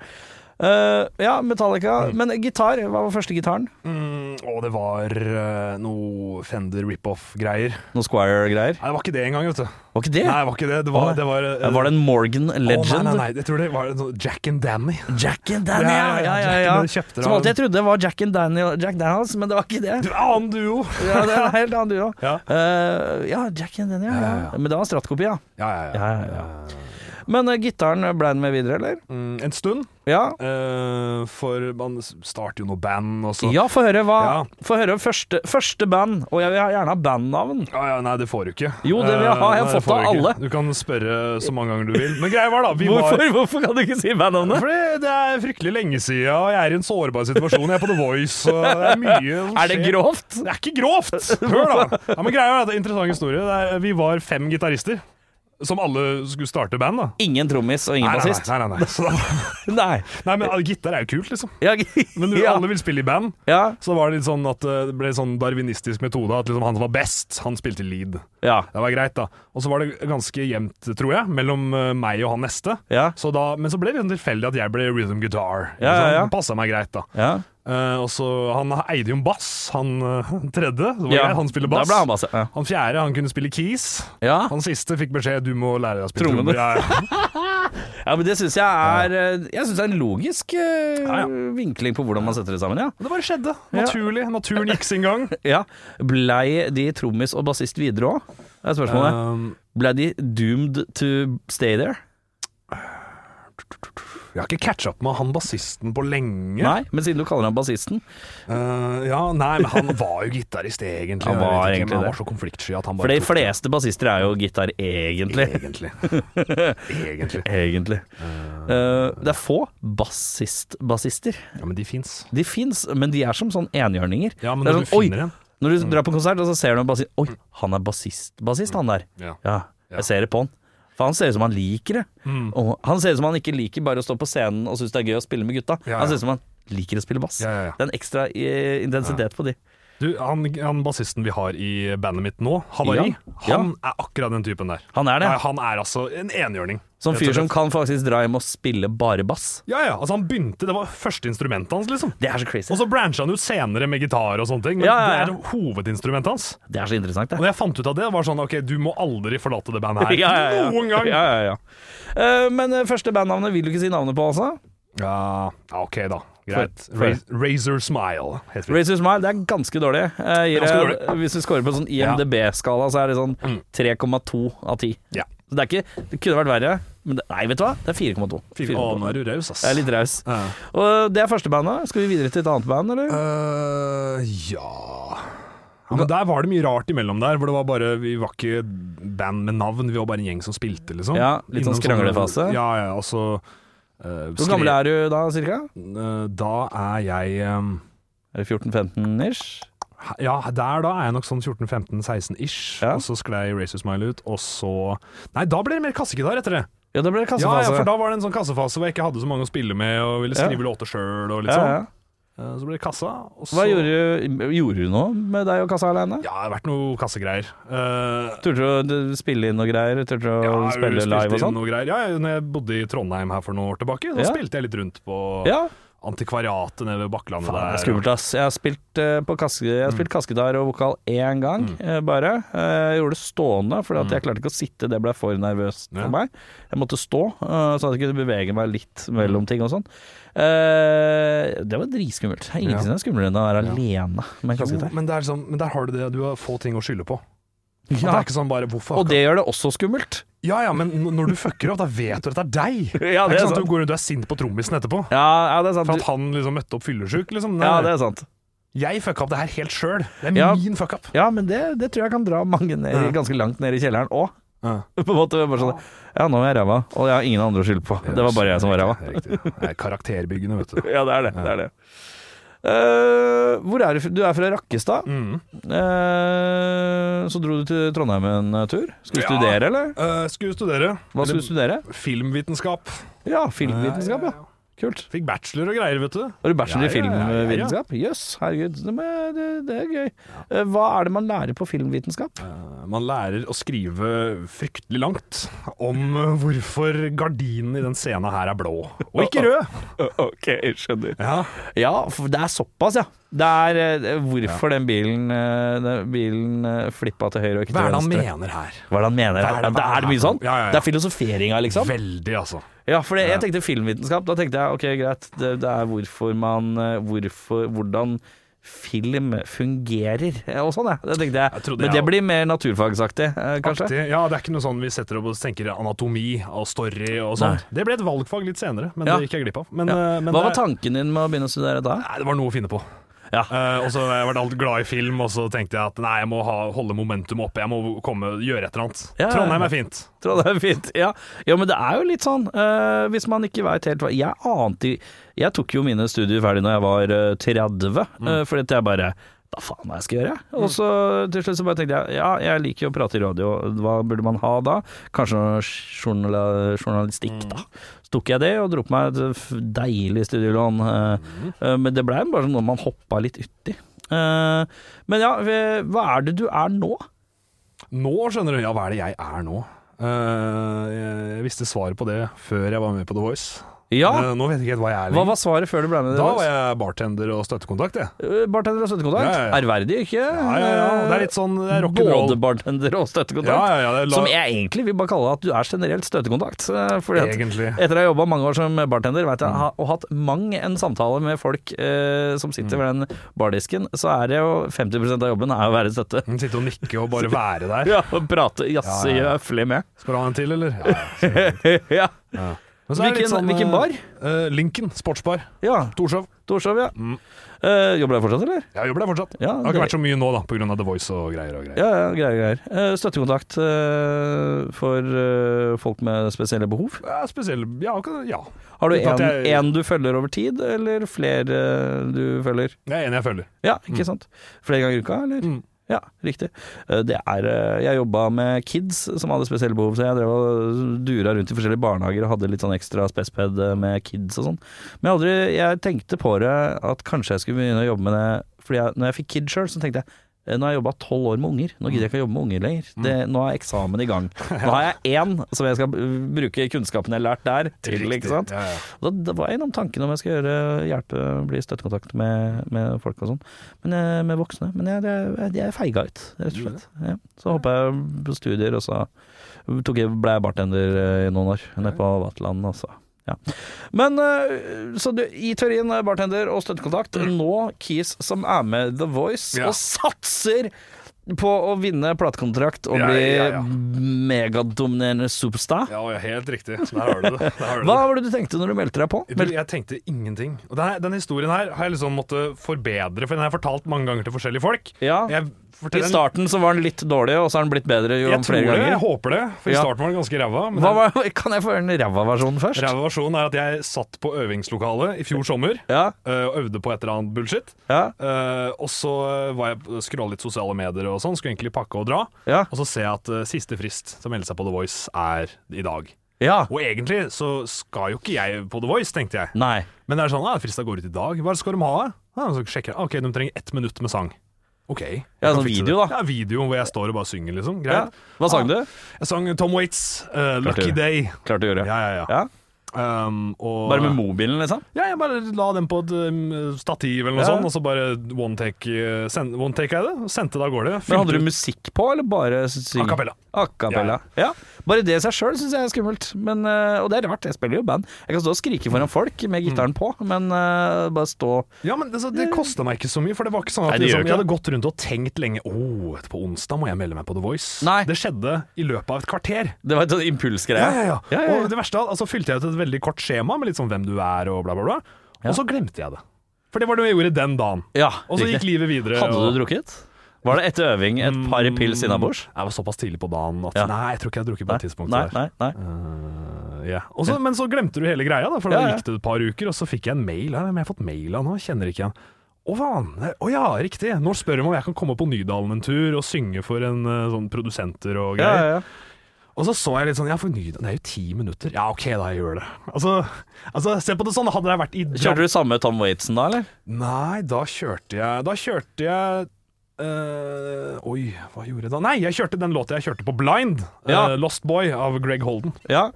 Speaker 2: Eh, ja Metallica Men gitar, hva var første gitaren?
Speaker 3: Mm, og det var eh, noe Fender rip-off-greier. Nei,
Speaker 2: Noen Squire-greier?
Speaker 3: det var ikke det engang, vet du.
Speaker 2: Var ikke det?
Speaker 3: Nei, det var ikke det. Det var, det var, eh,
Speaker 2: Var det en Morgan Legend?
Speaker 3: Å, nei, nei, nei, jeg tror det var noe Jack and Danny.
Speaker 2: Jack and Daniel, ja, ja, ja,
Speaker 3: Jack and-
Speaker 2: ja.
Speaker 3: kjøpte det
Speaker 2: Som
Speaker 3: av-
Speaker 2: alltid jeg trodde det var Jack and Daniel, Jack Daniels, men det var ikke det.
Speaker 3: Annen duo!
Speaker 2: Ja, det er en helt annen du òg.
Speaker 3: Ja.
Speaker 2: ja, Jack and Daniel, ja.
Speaker 3: Ja, ja, ja.
Speaker 2: Men det var en strattkopi, ja.
Speaker 3: Ja, ja, ja.
Speaker 2: Ja, ja, ja. Men eh, gitaren ble den med videre, eller?
Speaker 3: Mm, en stund,
Speaker 2: Ja.
Speaker 3: eh, for man s- starter jo noe band og så
Speaker 2: Ja, få høre hva
Speaker 3: Ja.
Speaker 2: Få høre første, første band, og jeg vil ha- gjerne ha bandnavn.
Speaker 3: Ja, ja, Nei, det får du ikke.
Speaker 2: Jo, det vil jeg ha.
Speaker 3: Eh,
Speaker 2: Jeg har
Speaker 3: nei, det
Speaker 2: fått av
Speaker 3: får du ikke.
Speaker 2: alle.
Speaker 3: Du kan spørre så mange ganger du vil. Men greia var da vi
Speaker 2: Hvorfor,
Speaker 3: var
Speaker 2: hvorfor kan du ikke si bandnavnet?
Speaker 3: fordi det er fryktelig lenge siden, og jeg er i en sårbar situasjon. Jeg er på The Voice, og det er mye som
Speaker 2: Er det
Speaker 3: skjer.
Speaker 2: grovt?
Speaker 3: Det er ikke grovt! Hør, da. Ja, men greia er at det er en interessant historie. Det er, vi var fem gitarister som alle skulle starte band. da
Speaker 2: Ingen trommis og ingen
Speaker 3: Nei, nei,
Speaker 2: bassist.
Speaker 3: Nei, nei, nei, Så da,
Speaker 2: Nei.
Speaker 3: nei men al- gitar er jo kult, liksom.
Speaker 2: Ja,
Speaker 3: Men du,
Speaker 2: ja.
Speaker 3: alle vil spille i band.
Speaker 2: ja.
Speaker 3: Så da var det litt sånn at eh, det ble sånn darwinistisk metode at liksom han som var best, han spilte lead.
Speaker 2: ja.
Speaker 3: Det var greit, da. Og så var det ganske jevnt, tror jeg, mellom eh, meg og han neste.
Speaker 2: Ja.
Speaker 3: Så da, men så ble det liksom tilfeldig at jeg ble rhythm guitar. liksom.
Speaker 2: Ja, ja, ja.
Speaker 3: Det passa meg greit, da.
Speaker 2: ja.
Speaker 3: Eh, og så Han eide jo en bass, han eh, tredje. Det var
Speaker 2: ja.
Speaker 3: greit, han spiller bass.
Speaker 2: Da ble han bass. Ja.
Speaker 3: Han fjerde han kunne spille keys.
Speaker 2: ja.
Speaker 3: Han siste fikk beskjed du må lære deg å spille
Speaker 2: Trommene.
Speaker 3: trommer. Ja, ja.
Speaker 2: Ja, men det syns jeg er eh, Jeg synes det er en logisk eh,
Speaker 3: Ja, ja.
Speaker 2: vinkling på hvordan man setter det sammen, ja.
Speaker 3: Men Det bare skjedde. Naturlig. Naturen gikk sin gang.
Speaker 2: ja. Blei de trommis og bassist videre òg? Det er spørsmålet.
Speaker 3: Um,
Speaker 2: Blei de doomed to stay there?
Speaker 3: jeg har ikke catcha opp med han bassisten på lenge.
Speaker 2: Nei, men siden du kaller ham bassisten
Speaker 3: Eh, ja, nei, men han var jo gitarist, egentlig.
Speaker 2: Han
Speaker 3: Jeg vet
Speaker 2: var
Speaker 3: ikke, men
Speaker 2: egentlig
Speaker 3: han
Speaker 2: det.
Speaker 3: var så konfliktsky at han
Speaker 2: For
Speaker 3: bare
Speaker 2: de
Speaker 3: tok
Speaker 2: fleste bassister er jo gitar, egentlig.
Speaker 3: Egentlig. egentlig.
Speaker 2: Egentlig. Eh, det er få bassist-bassister.
Speaker 3: Ja, men de fins.
Speaker 2: De fins, men de er som sånn enhjørninger.
Speaker 3: Ja, men
Speaker 2: Det er
Speaker 3: når du
Speaker 2: sånn, oi,
Speaker 3: finner Mm. en
Speaker 2: Når du drar på konsert, og så ser du en bassist Oi, han er bassist-bassist, han der.
Speaker 3: Ja. Mm.
Speaker 2: Ja, jeg ser det på han. For han ser ut som han liker det. Og han ser ut som han ikke liker bare å stå på scenen og synes det er gøy å spille med gutta.
Speaker 3: Ja, ja.
Speaker 2: Han ser ut som han liker å spille bass.
Speaker 3: Ja, ja, ja.
Speaker 2: Det er en ekstra eh, intensitet på de.
Speaker 3: Du, han, han bassisten vi har i bandet mitt nå, Havari,
Speaker 2: Ja.
Speaker 3: han er akkurat den typen der.
Speaker 2: Han er det.
Speaker 3: Nei, han er altså en enhjørning.
Speaker 2: Sånn
Speaker 3: rett og
Speaker 2: fyr som
Speaker 3: slett.
Speaker 2: kan faktisk dra hjem og spille bare bass.
Speaker 3: Ja, ja. Altså, han begynte Det var første instrumentet hans, liksom.
Speaker 2: Det er så crazy.
Speaker 3: Og så brancha han ut senere med gitar og sånne ting, men
Speaker 2: Ja, ja, ja.
Speaker 3: det er hovedinstrumentet hans.
Speaker 2: Det er så interessant, det.
Speaker 3: Og da jeg fant ut av det, var sånn OK, du må aldri forlate det bandet her. Noen gang!
Speaker 2: Ja, ja, ja. Eh, men eh, første bandnavnet vil du ikke si navnet på, altså?
Speaker 3: Ja, ja, OK, da. Greit.
Speaker 2: For- for-
Speaker 3: Ra- Razor Smile heter vi.
Speaker 2: Razor Smile, det er ganske dårlig. Jeg gir
Speaker 3: Ganske Mm.
Speaker 2: det- Hvis du scorer på en sånn IMDb-skala, så er det sånn 3,2 av 10.
Speaker 3: Ja.
Speaker 2: Så det, er ikke, det kunne vært verre, men det, nei, vet du hva? Det er 4,2.
Speaker 3: Fy- Å, nå
Speaker 2: 4,2.
Speaker 3: er du raus, ass.
Speaker 2: Jeg er litt raus.
Speaker 3: Ja.
Speaker 2: Og det er første bandet. Skal vi videre til et annet band, eller?
Speaker 3: Eh, ja Ja, men der var det mye rart imellom der, hvor det var bare Vi var ikke band med navn, vi var bare en gjeng som spilte, liksom.
Speaker 2: Ja, litt sånn
Speaker 3: Innom sånne-
Speaker 2: skranglefase.
Speaker 3: Ja, ja, og så eh,
Speaker 2: Hvor gammel er du da, cirka?
Speaker 3: Eh, Da er jeg eh,
Speaker 2: Er det 14-15 ish?
Speaker 3: he- Ja, der da er jeg nok sånn 14-15-16-ish.
Speaker 2: Ja.
Speaker 3: Og så sklei Racer Smile ut, og så Nei, da ble det mer kassegitar etter det.
Speaker 2: Ja, da ble det
Speaker 3: Ja, ja,
Speaker 2: kassefase.
Speaker 3: for da var det en sånn kassefase hvor jeg ikke hadde så mange å spille med, og ville
Speaker 2: Ja.
Speaker 3: skrive låter sjøl og litt
Speaker 2: Ja,
Speaker 3: sånn.
Speaker 2: ja.
Speaker 3: Eh, Så ble det kassa. Og så
Speaker 2: Hva gjorde du, gjorde du nå med deg og kassa alene?
Speaker 3: Ja, det har vært noe kassegreier. Eh,
Speaker 2: Turte du å spille inn noe greier? Turte du å
Speaker 3: Ja, jeg
Speaker 2: spille
Speaker 3: spilte
Speaker 2: live
Speaker 3: inn
Speaker 2: og sånn?
Speaker 3: noe greier. Ja, jeg- når jeg bodde i Trondheim her for noen år tilbake, da
Speaker 2: Ja.
Speaker 3: spilte jeg litt rundt på
Speaker 2: Ja,
Speaker 3: antikvariatet nede ved Bakklandet
Speaker 2: faen, det
Speaker 3: der.
Speaker 2: er skummelt, ass. Jeg har spilt, eh, på kasse, jeg har spilt
Speaker 3: Mm.
Speaker 2: kassegitar og vokal én gang, eh, bare. Eh, Jeg gjorde det stående, for jeg klarte ikke å sitte, det ble for nervøst
Speaker 3: Mm. Ja.
Speaker 2: for meg. Jeg måtte stå, eh, så at jeg kunne bevege meg litt
Speaker 3: Mm.
Speaker 2: mellom ting og sånn. Eh, Det var dritskummelt. Det er
Speaker 3: Ja.
Speaker 2: Ingenting som er skumlere enn å være alene med en
Speaker 3: Jo,
Speaker 2: kassegitar.
Speaker 3: men, det er sånn, men der har du det, du har få ting å skylde på. At Det
Speaker 2: Ja.
Speaker 3: er ikke sånn bare hvorfor
Speaker 2: Og det gjør det også skummelt.
Speaker 3: Ja ja, men n- når du fucker opp, da vet du at det er deg.
Speaker 2: Ja,
Speaker 3: det er ikke sånn at du går rundt og er sint på trommisen etterpå.
Speaker 2: Ja, ja, det er sant.
Speaker 3: For at
Speaker 2: Du-
Speaker 3: han liksom møtte opp fyllesyk, liksom. Nei,
Speaker 2: Ja, det er sant.
Speaker 3: Jeg fucka opp det her helt sjøl. Det er
Speaker 2: Ja.
Speaker 3: min fuckup.
Speaker 2: Ja, men det, det tror jeg kan dra mange ned,
Speaker 3: Ja.
Speaker 2: ganske langt ned i kjelleren òg.
Speaker 3: Ja.
Speaker 2: På en måte bare sånn Ja, nå er jeg ræva, og jeg har ingen andre å skylde på. Det var bare jeg som var ræva.
Speaker 3: Riktig. Det er Karakterbyggende, vet du.
Speaker 2: Ja, det er det. det, er det. Eh, hvor er du? fra- Du er fra Rakkestad.
Speaker 3: Mm.
Speaker 2: Eh, så dro du til Trondheim en eh, tur. Skulle
Speaker 3: Ja.
Speaker 2: studere, eller?
Speaker 3: Eh, skulle studere.
Speaker 2: Hva skulle du studere?
Speaker 3: Filmvitenskap. Eh,
Speaker 2: Ja, filmvitenskap, ja. Kult.
Speaker 3: Fikk bachelor og greier, vet du.
Speaker 2: Har du bachelor i
Speaker 3: Ja, ja, ja, ja, ja.
Speaker 2: filmvitenskap? Jøss, herregud. Det, må- det, det er gøy. Eh, hva er det man lærer på filmvitenskap?
Speaker 3: Eh, Man lærer å skrive fryktelig langt om eh, hvorfor gardinen i den scenen her er blå, og ikke rød.
Speaker 2: Ok, skjønner.
Speaker 3: Ja,
Speaker 2: Ja, for det er såpass, ja. Det er eh, hvorfor den bilen, eh, den bilen eh, flippa til høyre og ikke
Speaker 3: Hva er
Speaker 2: til
Speaker 3: det han
Speaker 2: venstre.
Speaker 3: mener her?
Speaker 2: Hva er det han mener?
Speaker 3: Hva er det-
Speaker 2: Ja, det er det mye sånn?
Speaker 3: Ja, ja, ja.
Speaker 2: Det er filosoferinga, liksom?
Speaker 3: Veldig, altså.
Speaker 2: Ja, for det, jeg tenkte filmvitenskap. Da tenkte jeg ok, greit, det, det er hvorfor man eh, hvorfor, Hvordan film fungerer eh, og sånn, ja. Det tenkte jeg.
Speaker 3: Jeg trodde
Speaker 2: Men
Speaker 3: jeg-
Speaker 2: det blir mer naturfagsaktig, eh, kanskje?
Speaker 3: Aktig. Ja, det er ikke noe sånn vi setter opp og tenker anatomi og story og sånn. Det ble et valgfag litt senere, men
Speaker 2: Ja.
Speaker 3: det gikk jeg glipp av. Men,
Speaker 2: Ja.
Speaker 3: eh, men
Speaker 2: Hva var
Speaker 3: det,
Speaker 2: tanken din med å begynne å studere da?
Speaker 3: nei, det var noe å finne på.
Speaker 2: Ja.
Speaker 3: Eh, og så har jeg vært alt glad i film, og så tenkte jeg at nei, jeg må ha, holde momentum oppe. Jeg må komme, gjøre et eller annet.
Speaker 2: Ja.
Speaker 3: Trondheim er fint.
Speaker 2: Tror det er fint. Ja. ja, men det er jo litt sånn, eh, hvis man ikke veit helt hva Jeg ante Jeg tok jo mine studier ferdig når jeg var eh, 30,
Speaker 3: Mm.
Speaker 2: eh, fordi at jeg bare da faen hva jeg skal gjøre? Og så til slutt så bare tenkte jeg ja, jeg liker jo å prate i radio, hva burde man ha da? Kanskje noe journala, journalistikk,
Speaker 3: Mm.
Speaker 2: da. Så tok jeg det og dro på meg et f- deilig studielån. eh,
Speaker 3: Mm.
Speaker 2: eh, Men det blei bare sånn noe man hoppa litt uti. Eh, Men ja, eh, hva er det du er nå?
Speaker 3: Nå skjønner du, ja hva er det jeg er nå? Eh, jeg, jeg visste svaret på det før jeg var med på The Voice.
Speaker 2: Ja,
Speaker 3: Eh, nå vet jeg ikke helt hva jeg er
Speaker 2: hva
Speaker 3: lenger.
Speaker 2: var svaret før du ble med? i
Speaker 3: Da
Speaker 2: Voice?
Speaker 3: var jeg bartender og støttekontakt, jeg.
Speaker 2: Eh, Bartender og støttekontakt.
Speaker 3: Ja, ja, ja.
Speaker 2: Ærverdig, ikke?
Speaker 3: Ja, ja, ja. Det er litt sånn det er rock'n'roll.
Speaker 2: Både bartender og støttekontakt.
Speaker 3: Ja, ja, ja, det er la-
Speaker 2: Som jeg egentlig vil bare kalle at du er generelt støttekontakt. eh, Fordi at
Speaker 3: Egentlig.
Speaker 2: etter å ha jobba mange år som bartender, vet jeg, ha- og hatt mang en samtale med folk eh, som sitter ved den bardisken, så er det jo 50 av jobben er å være støtte.
Speaker 3: Hun sitter og nikker og bare være der.
Speaker 2: Ja, og prate, jazze,
Speaker 3: Ja, ja, ja.
Speaker 2: gjøfle med.
Speaker 3: Skal du ha en til, eller? Ja, ja.
Speaker 2: ja.
Speaker 3: Men så er det litt
Speaker 2: Hvilken- hvilken
Speaker 3: eh,
Speaker 2: bar?
Speaker 3: eh, Lincoln sportsbar.
Speaker 2: ja.
Speaker 3: Torshov.
Speaker 2: Torshov, ja.
Speaker 3: Mm.
Speaker 2: Eh, jobber du der fortsatt, eller?
Speaker 3: Jeg jobber der fortsatt.
Speaker 2: Ja,
Speaker 3: Det har
Speaker 2: det-
Speaker 3: ikke vært så mye nå, da, pga. The Voice og greier og greier.
Speaker 2: Ja, ja, greier, greier. Eh, støttekontakt eh, for eh, folk med spesielle behov?
Speaker 3: Ja, spesiell Ja. ok, ja.
Speaker 2: Har du
Speaker 3: Uten at
Speaker 2: en,
Speaker 3: jeg-
Speaker 2: en du følger over tid, eller flere eh, du følger?
Speaker 3: Jeg er enig, jeg følger.
Speaker 2: Ja, ikke sant? Flere ganger i uka, eller?
Speaker 3: Mm.
Speaker 2: Ja, riktig. Eh, Det er, eh, jeg jobba med kids som hadde spesielle behov, så jeg drev og dura rundt i forskjellige barnehager og hadde litt sånn ekstra spesped eh, med kids og sånn. Men jeg, aldri, jeg tenkte på det at kanskje jeg skulle begynne å jobbe med det, fordi jeg, når jeg fikk kids sjøl, så tenkte jeg eh, nå har jeg jobba tolv år med unger, nå gidder jeg ikke å jobbe med unger lenger.
Speaker 3: Mm.
Speaker 2: Det, nå er eksamen i gang. Nå har jeg én som jeg skal eh, bruke kunnskapen jeg har lært der, til.
Speaker 3: Riktig.
Speaker 2: ikke sant?
Speaker 3: Ja, ja.
Speaker 2: Da, da var jeg innom tanken om jeg skal gjøre, hjelpe, bli støttekontakt med, med folk og sånn. Men eh, Med voksne. Men jeg, jeg, jeg feiga ut, rett og slett. Ja. Så hoppa jeg på studier, og så tok jeg, ble jeg bartender eh, i noen år. Nede på Vatland, altså. Ja. Men eh, så du, i teorien er bartender og støttekontakt. Nå Keys som er med The Voice
Speaker 3: Mm. Ja.
Speaker 2: og satser på å vinne platekontrakt og
Speaker 3: Ja,
Speaker 2: bli
Speaker 3: ja, ja.
Speaker 2: megadominerende superstar.
Speaker 3: Ja, og jeg er helt riktig. Der har du det. Der har du
Speaker 2: Hva var det du tenkte når du meldte deg på?
Speaker 3: Du, jeg tenkte ingenting. Og denne, denne historien her har jeg liksom måttet forbedre, for den har jeg fortalt mange ganger til forskjellige folk.
Speaker 2: Ja.
Speaker 3: Jeg
Speaker 2: I
Speaker 3: fortell en-
Speaker 2: starten så var den litt dårlig, og så har den blitt bedre jo
Speaker 3: Jeg tror
Speaker 2: flere
Speaker 3: det,
Speaker 2: ganger.
Speaker 3: jeg håper det, for i
Speaker 2: Ja.
Speaker 3: starten var det ganske ræva. men
Speaker 2: Hva var,
Speaker 3: den-
Speaker 2: kan jeg få høre den ræva versjonen først?
Speaker 3: Ræva versjonen er at jeg satt på øvingslokalet i fjor sommer
Speaker 2: Ja,
Speaker 3: øh, og øvde på et eller annet bullshit.
Speaker 2: ja,
Speaker 3: Øh, og så var jeg scrolla litt sosiale medier og sånn, skulle egentlig pakke og dra.
Speaker 2: ja.
Speaker 3: Og så ser jeg at øh, siste frist til å melde seg på The Voice er i dag.
Speaker 2: ja.
Speaker 3: Og egentlig så skal jo ikke jeg på The Voice, tenkte jeg.
Speaker 2: Nei.
Speaker 3: Men det er sånn, ah, frista går ut i dag, hva skal de ha? Ah, så sjekker jeg, ok, de trenger ett minutt med sang. Ok. jeg
Speaker 2: Ja,
Speaker 3: kan
Speaker 2: sånn
Speaker 3: fikse
Speaker 2: video,
Speaker 3: det.
Speaker 2: da.
Speaker 3: Ja, video hvor jeg står og bare synger, liksom.
Speaker 2: Ja.
Speaker 3: Greit.
Speaker 2: Hva sang du?
Speaker 3: Jeg sang Tom Waits, eh, Lucky
Speaker 2: det.
Speaker 3: Day.
Speaker 2: Klart du gjorde.
Speaker 3: Ja, ja, ja.
Speaker 2: Ja.
Speaker 3: Um, og,
Speaker 2: Bare med mobilen, liksom?
Speaker 3: Ja, jeg bare la den på et um, stativ eller noe
Speaker 2: Ja.
Speaker 3: sånt, og så bare one take, eh, send, one take er det, og sendte det av
Speaker 2: Men
Speaker 3: gårde.
Speaker 2: hadde
Speaker 3: Fylte
Speaker 2: du musikk på, eller bare syng?
Speaker 3: A cappella.
Speaker 2: A cappella. Ja. Bare det i seg sjøl syns jeg er skummelt. Men, eh, og det er rart, jeg spiller jo i band. Jeg kan stå og skrike foran folk med
Speaker 3: Mm.
Speaker 2: gitaren på, men eh, bare stå
Speaker 3: ut- Ja, men det, så det kosta meg ikke så mye, for det var ikke sånn
Speaker 2: Nei,
Speaker 3: at
Speaker 2: det gjør
Speaker 3: liksom,
Speaker 2: ikke
Speaker 3: jeg hadde gått rundt og tenkt lenge oh, på onsdag må jeg melde meg på The Voice.
Speaker 2: Nei.
Speaker 3: Det skjedde i løpet av et kvarter.
Speaker 2: Det var en sånn impulsgreie.
Speaker 3: Ja, ja, ja.
Speaker 2: Ja, ja, ja.
Speaker 3: Og det verste av alt, altså, fylte jeg ut et veldig kort skjema med litt sånn hvem du er og bla, bla, bla. Og så glemte jeg det. For det var det jeg gjorde den dagen.
Speaker 2: Ja,
Speaker 3: Og så gikk
Speaker 2: riktig.
Speaker 3: livet Mm. videre.
Speaker 2: Hadde
Speaker 3: og-
Speaker 2: du drukket? Var det etter øving et par pils innabords?
Speaker 3: Jeg var såpass tidlig på dagen at
Speaker 2: Ja.
Speaker 3: nei, jeg tror ikke jeg har drukket på
Speaker 2: Nei,
Speaker 3: et tidspunkt.
Speaker 2: nei,
Speaker 3: der.
Speaker 2: nei, nei.
Speaker 3: Eh, ja. Og så- men så glemte du hele greia, da, for
Speaker 2: Ja,
Speaker 3: da
Speaker 2: ja.
Speaker 3: gikk det et par uker, og så fikk jeg en mail. Ja, men jeg har fått mail av nå, kjenner ikke igjen. Å faen! Å ja, riktig! Nå spør de om jeg kan komme på Nydalen en tur og synge for en eh, sånn produsenter og
Speaker 2: Ja,
Speaker 3: greier.
Speaker 2: ja, ja.
Speaker 3: Og så så jeg litt sånn Ja, for Nydalen det er jo ti minutter. Ja, OK, da, jeg gjør det. Altså, altså se på det sånn. Hadde jeg vært i
Speaker 2: Kjørte
Speaker 3: Dram-
Speaker 2: du samme Tom Waitsen da, eller?
Speaker 3: Nei, da kjørte jeg Da kjørte jeg eh, Oi, hva gjorde jeg da? Nei, jeg kjørte den låta jeg kjørte på Blind. eh,
Speaker 2: Ja.
Speaker 3: Lost Boy av Greg Holden.
Speaker 2: Ja.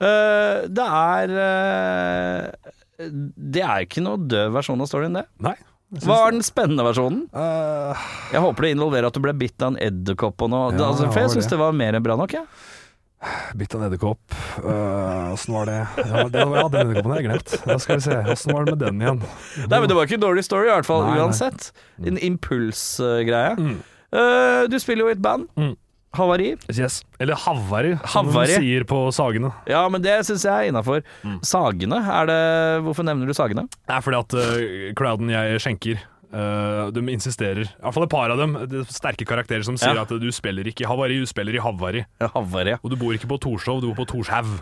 Speaker 2: Eh, det er eh, Det er ikke noe død versjon av storyen, det.
Speaker 3: Nei. jeg syns
Speaker 2: Hva er den spennende versjonen?
Speaker 3: Eh,
Speaker 2: Jeg håper det involverer at du ble bitt av en edderkopp og noe.
Speaker 3: Ja,
Speaker 2: Det- altså, for
Speaker 3: det var
Speaker 2: jeg syns
Speaker 3: det.
Speaker 2: det var mer enn bra nok, jeg.
Speaker 3: Bitt av en edderkopp. Eh, Åssen var det? Ja, det var, ja, den edderkoppen har jeg glemt. Da skal vi se. Åssen var det med den igjen?
Speaker 2: Nei, men det var ikke en dårlig story, i hvert fall.
Speaker 3: Nei, nei.
Speaker 2: uansett. En impulsgreie.
Speaker 3: Mm.
Speaker 2: Eh, du spiller jo i et band.
Speaker 3: Mm.
Speaker 2: Havari.
Speaker 3: Yes. Eller havari, som
Speaker 2: Havari.
Speaker 3: de sier på Sagene.
Speaker 2: Ja, men det syns jeg er innafor.
Speaker 3: Mm.
Speaker 2: Sagene, er det Hvorfor nevner du Sagene?
Speaker 3: Det er fordi at eh, crowden jeg skjenker eh, de insisterer, i hvert fall et par av dem, det er sterke karakterer som sier
Speaker 2: Ja.
Speaker 3: at du spiller ikke i havari, du spiller i havari.
Speaker 2: Havari.
Speaker 3: Og du bor ikke på Torshov, du bor på Torshaug.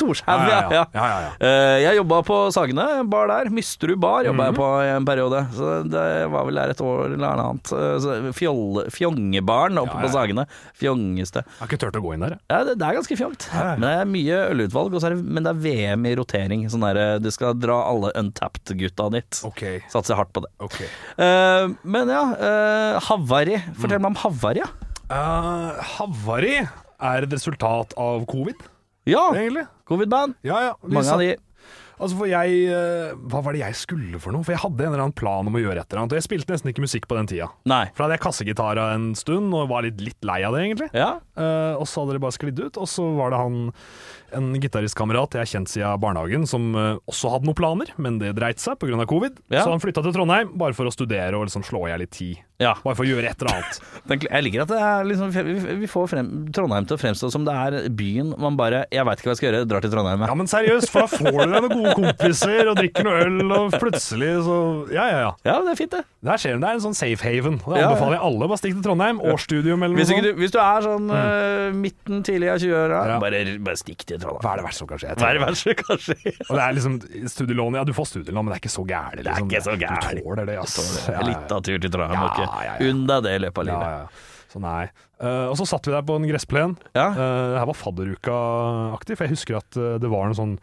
Speaker 2: Torshau, ja. ja.
Speaker 3: ja, ja, ja.
Speaker 2: Eh, jeg jobba på Sagene, bar der. Mysterud bar jobba
Speaker 3: Mhm.
Speaker 2: jeg på i en periode. Så det var vel der et år eller annet. Eh, så Fjolle, fjongebaren oppe
Speaker 3: Ja,
Speaker 2: på
Speaker 3: ja.
Speaker 2: Sagene. Fjongeste.
Speaker 3: Jeg har ikke turt å gå inn der. jeg.
Speaker 2: Ja, det, det er ganske fjongt.
Speaker 3: Ja, ja.
Speaker 2: Men det er mye ølutvalg, og så er det, men det er VM i rotering. Sånn der, eh, du skal dra alle untapped-gutta dit. Satser hardt på det.
Speaker 3: ok.
Speaker 2: Eh, men ja, eh, Havari.
Speaker 3: Mm.
Speaker 2: Fortell meg om Havari, ja.
Speaker 3: Eh, havari er et resultat av covid,
Speaker 2: Ja,
Speaker 3: egentlig.
Speaker 2: covid-band.
Speaker 3: Ja, ja. Vi
Speaker 2: Mange
Speaker 3: satt-
Speaker 2: av de.
Speaker 3: Altså for jeg, eh, Hva var det jeg skulle for noe? For jeg hadde en eller annen plan om å gjøre et eller annet. Og jeg spilte nesten ikke musikk på den tida.
Speaker 2: Nei.
Speaker 3: For da hadde jeg kassegitar en stund og var litt, litt lei av det, egentlig.
Speaker 2: Ja,
Speaker 3: Eh, og så hadde det bare sklidd ut. Og så var det han, en gitaristkamerat jeg har kjent siden barnehagen, som eh, også hadde noen planer, men det dreit seg pga. covid.
Speaker 2: Ja.
Speaker 3: Så han flytta til Trondheim bare for å studere og liksom slå i hjel litt tid.
Speaker 2: ja.
Speaker 3: Bare for å gjøre et eller annet.
Speaker 2: Den- Jeg liker at det er liksom, vi- vi får frem, Trondheim til å fremstå som det er byen man bare Jeg veit ikke hva jeg skal gjøre, drar til Trondheim.
Speaker 3: Ja, men seriøst, for da får du deg noen gode kompiser og drikker noe øl, og plutselig så Ja, ja, ja.
Speaker 2: Ja, det er fint, det.
Speaker 3: Der skjer det. Det er en sånn safe haven. Og Det
Speaker 2: Ja, ja.
Speaker 3: anbefaler jeg alle. Bare stikk til Trondheim. Årsstudium eller noe
Speaker 2: Hvis, ikke
Speaker 3: sånt.
Speaker 2: du, hvis du er sånn eh, midten, tidlig av 20-åra,
Speaker 3: Mm. Ja.
Speaker 2: bare, bare stikk til Trondheim.
Speaker 3: Hva er det verste som kan skje? Jeg
Speaker 2: Hva er
Speaker 3: tenker.
Speaker 2: det verste, kanskje?
Speaker 3: Og det er liksom studielån, ja du får studielån, men det er ikke så gærent.
Speaker 2: Det er
Speaker 3: Liksom.
Speaker 2: ikke så gærent.
Speaker 3: Du tåler det, ass. Ja, ja,
Speaker 2: Litt av tur til Trondheim,
Speaker 3: Ja,
Speaker 2: ok.
Speaker 3: ja, ja.
Speaker 2: Unn deg det i løpet av
Speaker 3: ja,
Speaker 2: livet.
Speaker 3: ja, ja. Så nei. Eh, og så satt vi der på en gressplen.
Speaker 2: Ja.
Speaker 3: Eh, det her var fadderuka-aktig, for jeg husker at eh, det var en sånn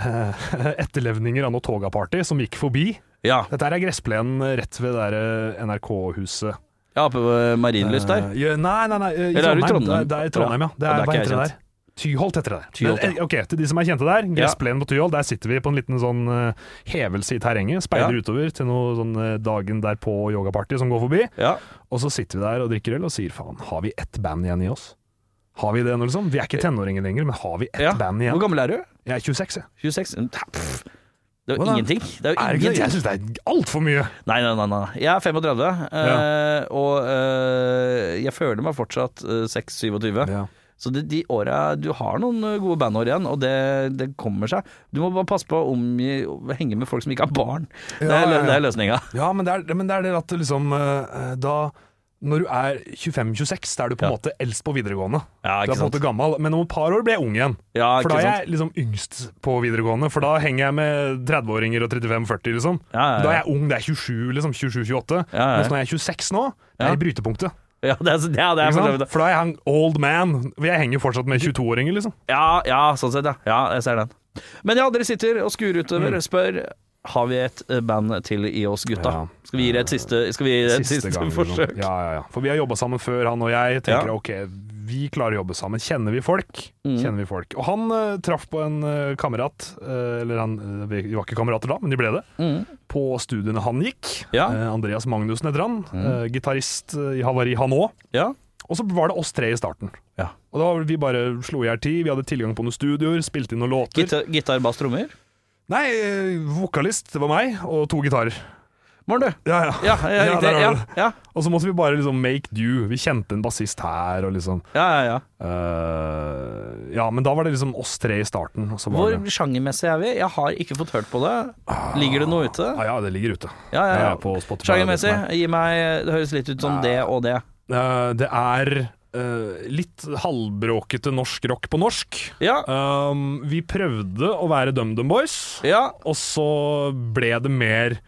Speaker 3: eh, etterlevninger av noe toga-party som gikk forbi.
Speaker 2: Ja,
Speaker 3: Dette her er gressplenen rett ved det der, eh, NRK-huset.
Speaker 2: ja på eh, Marienlyst der.
Speaker 3: Eh, ja, nei, nei, nei. eh, I
Speaker 2: Eller er det i Trondheim?
Speaker 3: Trondheim. Det er- Det er i Trondheim, ja. Det
Speaker 2: Ja,
Speaker 3: er,
Speaker 2: det er
Speaker 3: hva
Speaker 2: ikke
Speaker 3: heter det
Speaker 2: jeg
Speaker 3: der? Tyholt heter det der.
Speaker 2: Tyholt,
Speaker 3: Men, eh, ok, til de som er kjente der, gressplenen på Tyholt, der sitter vi på en liten sånn eh, hevelse i terrenget, speider
Speaker 2: Ja.
Speaker 3: utover til noe sånn eh, dagen derpå yogaparty som går forbi,
Speaker 2: Ja.
Speaker 3: og så sitter vi der og drikker øl og sier faen, har vi ett band igjen i oss? Har vi det nå, liksom? Vi er ikke tenåringer lenger, men har vi ett
Speaker 2: Eh, ja.
Speaker 3: band
Speaker 2: Hvor
Speaker 3: igjen?
Speaker 2: gammel er du?
Speaker 3: Jeg er 26, jeg.
Speaker 2: 26? Pff, Det er jo
Speaker 3: Hvordan?
Speaker 2: ingenting. Det er jo
Speaker 3: Er det ikke det? Jeg
Speaker 2: ingenting.
Speaker 3: syns det er altfor mye.
Speaker 2: Nei, nei, nei, nei. Jeg er 35, eh, og eh, jeg føler meg fortsatt eh, 6-27.
Speaker 3: Ja.
Speaker 2: Så de, de åra Du har noen eh, gode bandår igjen, og det, det kommer seg. Du må bare passe på å omgi, å henge med folk som ikke har barn. Det er,
Speaker 3: Ja, ja,
Speaker 2: lø-
Speaker 3: ja.
Speaker 2: det er løsninga.
Speaker 3: Ja, men det er, men det, er det at liksom eh, da når du er 25-26, da er du på en
Speaker 2: Ja.
Speaker 3: måte eldst på videregående.
Speaker 2: Ja, ikke
Speaker 3: Du er på en
Speaker 2: sant.
Speaker 3: måte gammel, men om et par år blir jeg ung igjen.
Speaker 2: Ja,
Speaker 3: For da
Speaker 2: ikke
Speaker 3: er
Speaker 2: sant.
Speaker 3: jeg liksom yngst på videregående, for da henger jeg med 30-åringer og 35-40, liksom.
Speaker 2: Ja, ja, ja.
Speaker 3: Da er jeg ung, det er 27, liksom. 27-28.
Speaker 2: Ja, ja, ja.
Speaker 3: Mens nå er jeg 26 nå, det
Speaker 2: Ja.
Speaker 3: er i brytepunktet.
Speaker 2: Ja, det er, ja, det er for så
Speaker 3: Ikke sant?
Speaker 2: vidt det.
Speaker 3: For da er jeg en old man. Jeg henger jo fortsatt med 22-åringer, liksom.
Speaker 2: Ja, ja, sånn sett, ja. ja. Jeg ser den. Men ja, dere sitter og skuer utover
Speaker 3: Mm.
Speaker 2: og spør har vi et eh, band til i oss, gutta.
Speaker 3: Ja.
Speaker 2: Skal vi gi dere et siste, skal vi gi dere et siste,
Speaker 3: gang, liksom.
Speaker 2: forsøk?
Speaker 3: Ja, ja, ja. For vi har jobba sammen før, han og jeg. Tenker
Speaker 2: Ja. Mm.
Speaker 3: ok, vi klarer å jobbe sammen. Kjenner vi folk? Kjenner vi folk? Og han eh, traff på en eh, kamerat, eh, eller han eh, vi var ikke kamerater da, men de ble det, på studiene han gikk.
Speaker 2: Mm. Ja. Mm.
Speaker 3: Eh, Andreas Magnussen heter han. eh, Gitarist eh, i Havari, han òg.
Speaker 2: Ja.
Speaker 3: Og så var det oss tre i starten.
Speaker 2: Ja.
Speaker 3: Og da var vi bare slo i hjel tid. Vi hadde tilgang på noen studioer, spilte inn noen låter.
Speaker 2: Gitar, gitar, bass, trommer?
Speaker 3: Nei, eh, vokalist, det var meg, og to gitarer.
Speaker 2: Morn, du.
Speaker 3: Ja, ja.
Speaker 2: Ja, ja,
Speaker 3: Ja,
Speaker 2: riktig.
Speaker 3: der har
Speaker 2: Ja,
Speaker 3: du det.
Speaker 2: ja,
Speaker 3: Og så måtte vi bare liksom make do. Vi kjente en bassist her, og liksom
Speaker 2: ja. ja, ja.
Speaker 3: eh, Ja, men da var det liksom oss tre i starten. Og så var
Speaker 2: Hvor
Speaker 3: det,
Speaker 2: sjangermessig er vi? Jeg har ikke fått hørt på det. Ligger det noe ute?
Speaker 3: ja, ja, det ligger ute.
Speaker 2: Ah. Ja, ja, ja.
Speaker 3: På Spotify.
Speaker 2: Sjangermessig, gi meg Det høres litt ut som det og det.
Speaker 3: Eh, det er eh, litt halvbråkete norsk rock på norsk.
Speaker 2: Ja.
Speaker 3: Um, vi prøvde å være DumDum Boys,
Speaker 2: Ja.
Speaker 3: og så ble det mer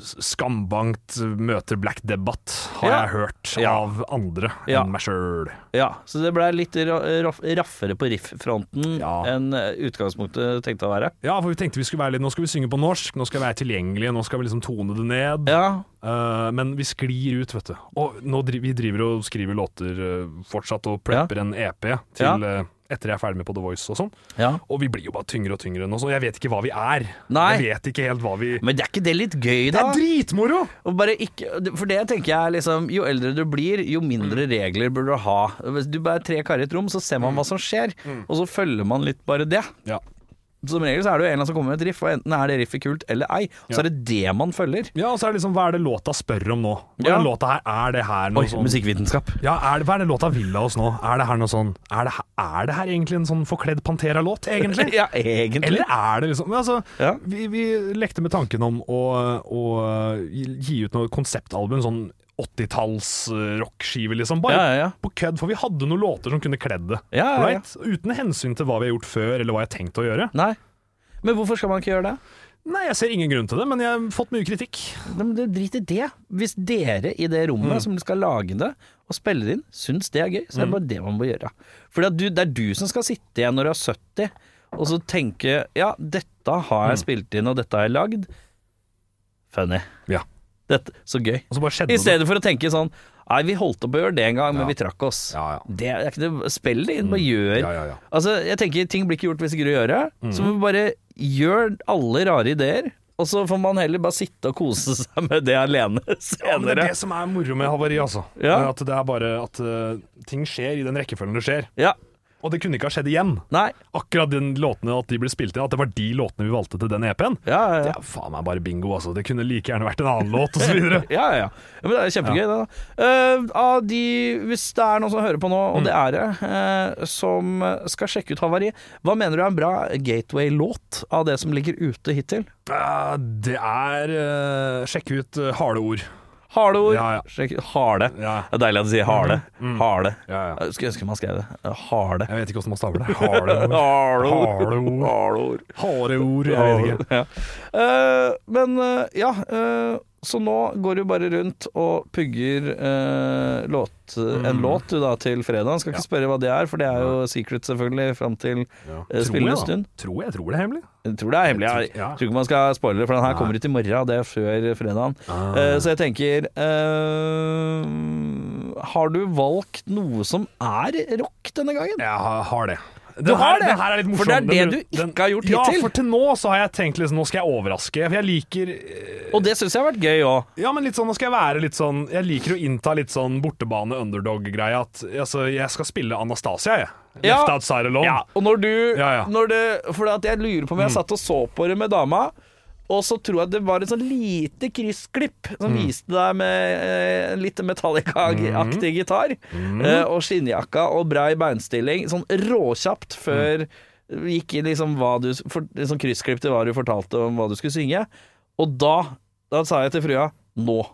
Speaker 3: s- skambankt møter Black Debbat, har
Speaker 2: Ja.
Speaker 3: jeg hørt,
Speaker 2: Ja.
Speaker 3: av andre
Speaker 2: Ja.
Speaker 3: enn meg sjøl.
Speaker 2: ja. Så det ble litt ra- raff- raffere på riff-fronten
Speaker 3: Ja.
Speaker 2: enn eh, utgangspunktet tenkte å være.
Speaker 3: Ja, for vi tenkte vi skulle være litt Nå skal vi synge på norsk, nå skal vi være tilgjengelige, nå skal vi liksom tone det ned.
Speaker 2: Ja.
Speaker 3: Eh, men vi sklir ut, vet du. Og nå dri vi driver og skriver låter eh, fortsatt, og prepper en EP til
Speaker 2: Ja.
Speaker 3: eh, etter jeg er ferdig med på The Voice og sånn.
Speaker 2: ja.
Speaker 3: Og vi blir jo bare tyngre og tyngre nå, så jeg vet ikke hva vi er.
Speaker 2: Nei.
Speaker 3: Jeg vet ikke helt hva vi
Speaker 2: Men det er ikke det litt gøy,
Speaker 3: Det
Speaker 2: da?
Speaker 3: er dritmoro!
Speaker 2: Og bare ikke, for det tenker jeg er liksom Jo eldre du blir, jo mindre regler burde du ha. Hvis du bare er tre karer i et rom, så ser man hva som skjer, og så følger man litt bare det.
Speaker 3: Ja.
Speaker 2: Som regel så er det jo en eller annen som kommer med et riff, og enten er det riffet kult eller ei, og så
Speaker 3: Ja.
Speaker 2: er det det man følger.
Speaker 3: og så er det liksom Hva er det låta spør om nå? Hva er
Speaker 2: Ja.
Speaker 3: det låta her? Er det her noe
Speaker 2: Oi,
Speaker 3: sånn
Speaker 2: musikkvitenskap.
Speaker 3: Ja, er det, Hva er det låta vil av oss nå? Er det her noe sånn Er det, her- er det her egentlig en sånn forkledd Pantera-låt, egentlig?
Speaker 2: Ja, egentlig.
Speaker 3: Eller er det liksom men altså,
Speaker 2: Ja.
Speaker 3: vi, vi lekte med tanken om å, å gi ut noe konseptalbum, sånn 80-talls eh, rockskive, liksom. Bare
Speaker 2: Ja, ja, ja.
Speaker 3: på kødd, for vi hadde noen låter som kunne kledd det.
Speaker 2: Ja, ja, ja.
Speaker 3: right? Uten hensyn til hva vi har gjort før, eller hva jeg har tenkt å gjøre.
Speaker 2: Nei. Men hvorfor skal man ikke gjøre det?
Speaker 3: Nei, jeg ser ingen grunn til det, men jeg har fått mye kritikk.
Speaker 2: Nei, men det- Drit i det. Hvis dere i det rommet som skal lage det og spille det inn, syns det er gøy, så er det bare det man må gjøre. For det er du som skal sitte igjen når du er 70 og så tenke ja, dette har jeg spilt inn, og dette har jeg lagd. Funny.
Speaker 3: Ja.
Speaker 2: Dette, så gøy.
Speaker 3: Og så bare skjedde
Speaker 2: I stedet for å tenke sånn Nei, vi holdt opp å gjøre det en gang, men
Speaker 3: Ja.
Speaker 2: vi trakk oss.
Speaker 3: det. Ja, ja. Mm.
Speaker 2: Det er ikke det Spill det inn, bare gjør.
Speaker 3: Ja, ja, Mm. ja.
Speaker 2: Altså, jeg tenker ting blir ikke gjort hvis ikke du gjør det. Så må vi bare gjør alle rare ideer, og så får man heller bare sitte og kose seg med det alene
Speaker 3: Ja, men det
Speaker 2: senere.
Speaker 3: er det som er moro med havari, altså.
Speaker 2: Ja.
Speaker 3: Er At det er bare at eh, ting skjer i den rekkefølgen det skjer.
Speaker 2: Ja,
Speaker 3: Og det kunne ikke ha skjedd igjen.
Speaker 2: nei.
Speaker 3: Akkurat den låtene at de ble spilt inn, at det var de låtene vi valgte til den E EP-en.
Speaker 2: Ja, ja,
Speaker 3: Det
Speaker 2: ja.
Speaker 3: er faen meg bare bingo, altså. Det kunne like gjerne vært en annen låt, og så videre
Speaker 2: Ja, ja, ja. ja, men det er kjempegøy, det, da. Eh, av de, hvis det er noen som hører på nå, og
Speaker 3: Mm.
Speaker 2: det er det, eh, som skal sjekke ut Havari, hva mener du er en bra gateway-låt av det som ligger ute hittil?
Speaker 3: Eh, Det er eh, Sjekk ut eh, harde ord.
Speaker 2: Harde ord.
Speaker 3: Ja, ja.
Speaker 2: Sjekk- harde.
Speaker 3: Ja, Mm,
Speaker 2: Det er deilig at du sier harde. Harde.
Speaker 3: ja, ja.
Speaker 2: Jeg skulle ønske man skrev det. Harde.
Speaker 3: Jeg vet ikke hvordan man staver det. Harde ord.
Speaker 2: Harde ord.
Speaker 3: Harde ord.
Speaker 2: Harde ord.
Speaker 3: Harde ord, jeg vet ikke.
Speaker 2: Ja. Eh, men eh, ja, eh, så nå går du bare rundt og pugger eh, låt,
Speaker 3: Mm.
Speaker 2: en låt du da til fredag. Skal ikke spørre hva det er, for det er jo secret selvfølgelig fram til
Speaker 3: Ja.
Speaker 2: Eh, spillestund?
Speaker 3: Tror jeg, da. tror jeg tror det er hemmelig.
Speaker 2: Jeg tror det er hemmelig. Jeg
Speaker 3: Ja.
Speaker 2: tror ikke man skal spoile, for den her kommer ut i morgen, og det er før fredagen. Eh, så jeg tenker eh, Har du valgt noe som er rock denne gangen?
Speaker 3: Jeg har, har det. Den
Speaker 2: Du har
Speaker 3: her-
Speaker 2: det?
Speaker 3: Den her er litt morsom.
Speaker 2: For det er det
Speaker 3: Den-
Speaker 2: du ikke
Speaker 3: den-
Speaker 2: har gjort
Speaker 3: ja,
Speaker 2: hittil.
Speaker 3: Ja, for til nå så har jeg tenkt liksom, nå skal jeg overraske. For jeg liker eh,
Speaker 2: Og det syns jeg har vært gøy òg.
Speaker 3: Ja, men litt sånn, nå skal jeg være litt sånn Jeg liker å innta litt sånn bortebane underdog-greie. At altså, jeg skal spille Anastasia, jeg.
Speaker 2: Ja.
Speaker 3: Left outside alone.
Speaker 2: Ja, og når du
Speaker 3: Ja, Mm. ja.
Speaker 2: Når det, For at jeg lurer på om jeg satt og så på det med dama, og så tror jeg det var et sånn lite kryssklipp som
Speaker 3: Mm.
Speaker 2: viste deg med eh, en litt
Speaker 3: Mm.
Speaker 2: Metallica-aktig gitar, eh, og skinnjakka og bra i beinstilling, sånn råkjapt
Speaker 3: Mm.
Speaker 2: før vi gikk inn liksom hva du for, liksom Kryssklipp til hva du fortalte om hva du skulle synge. Og da, da sa jeg til frua Nå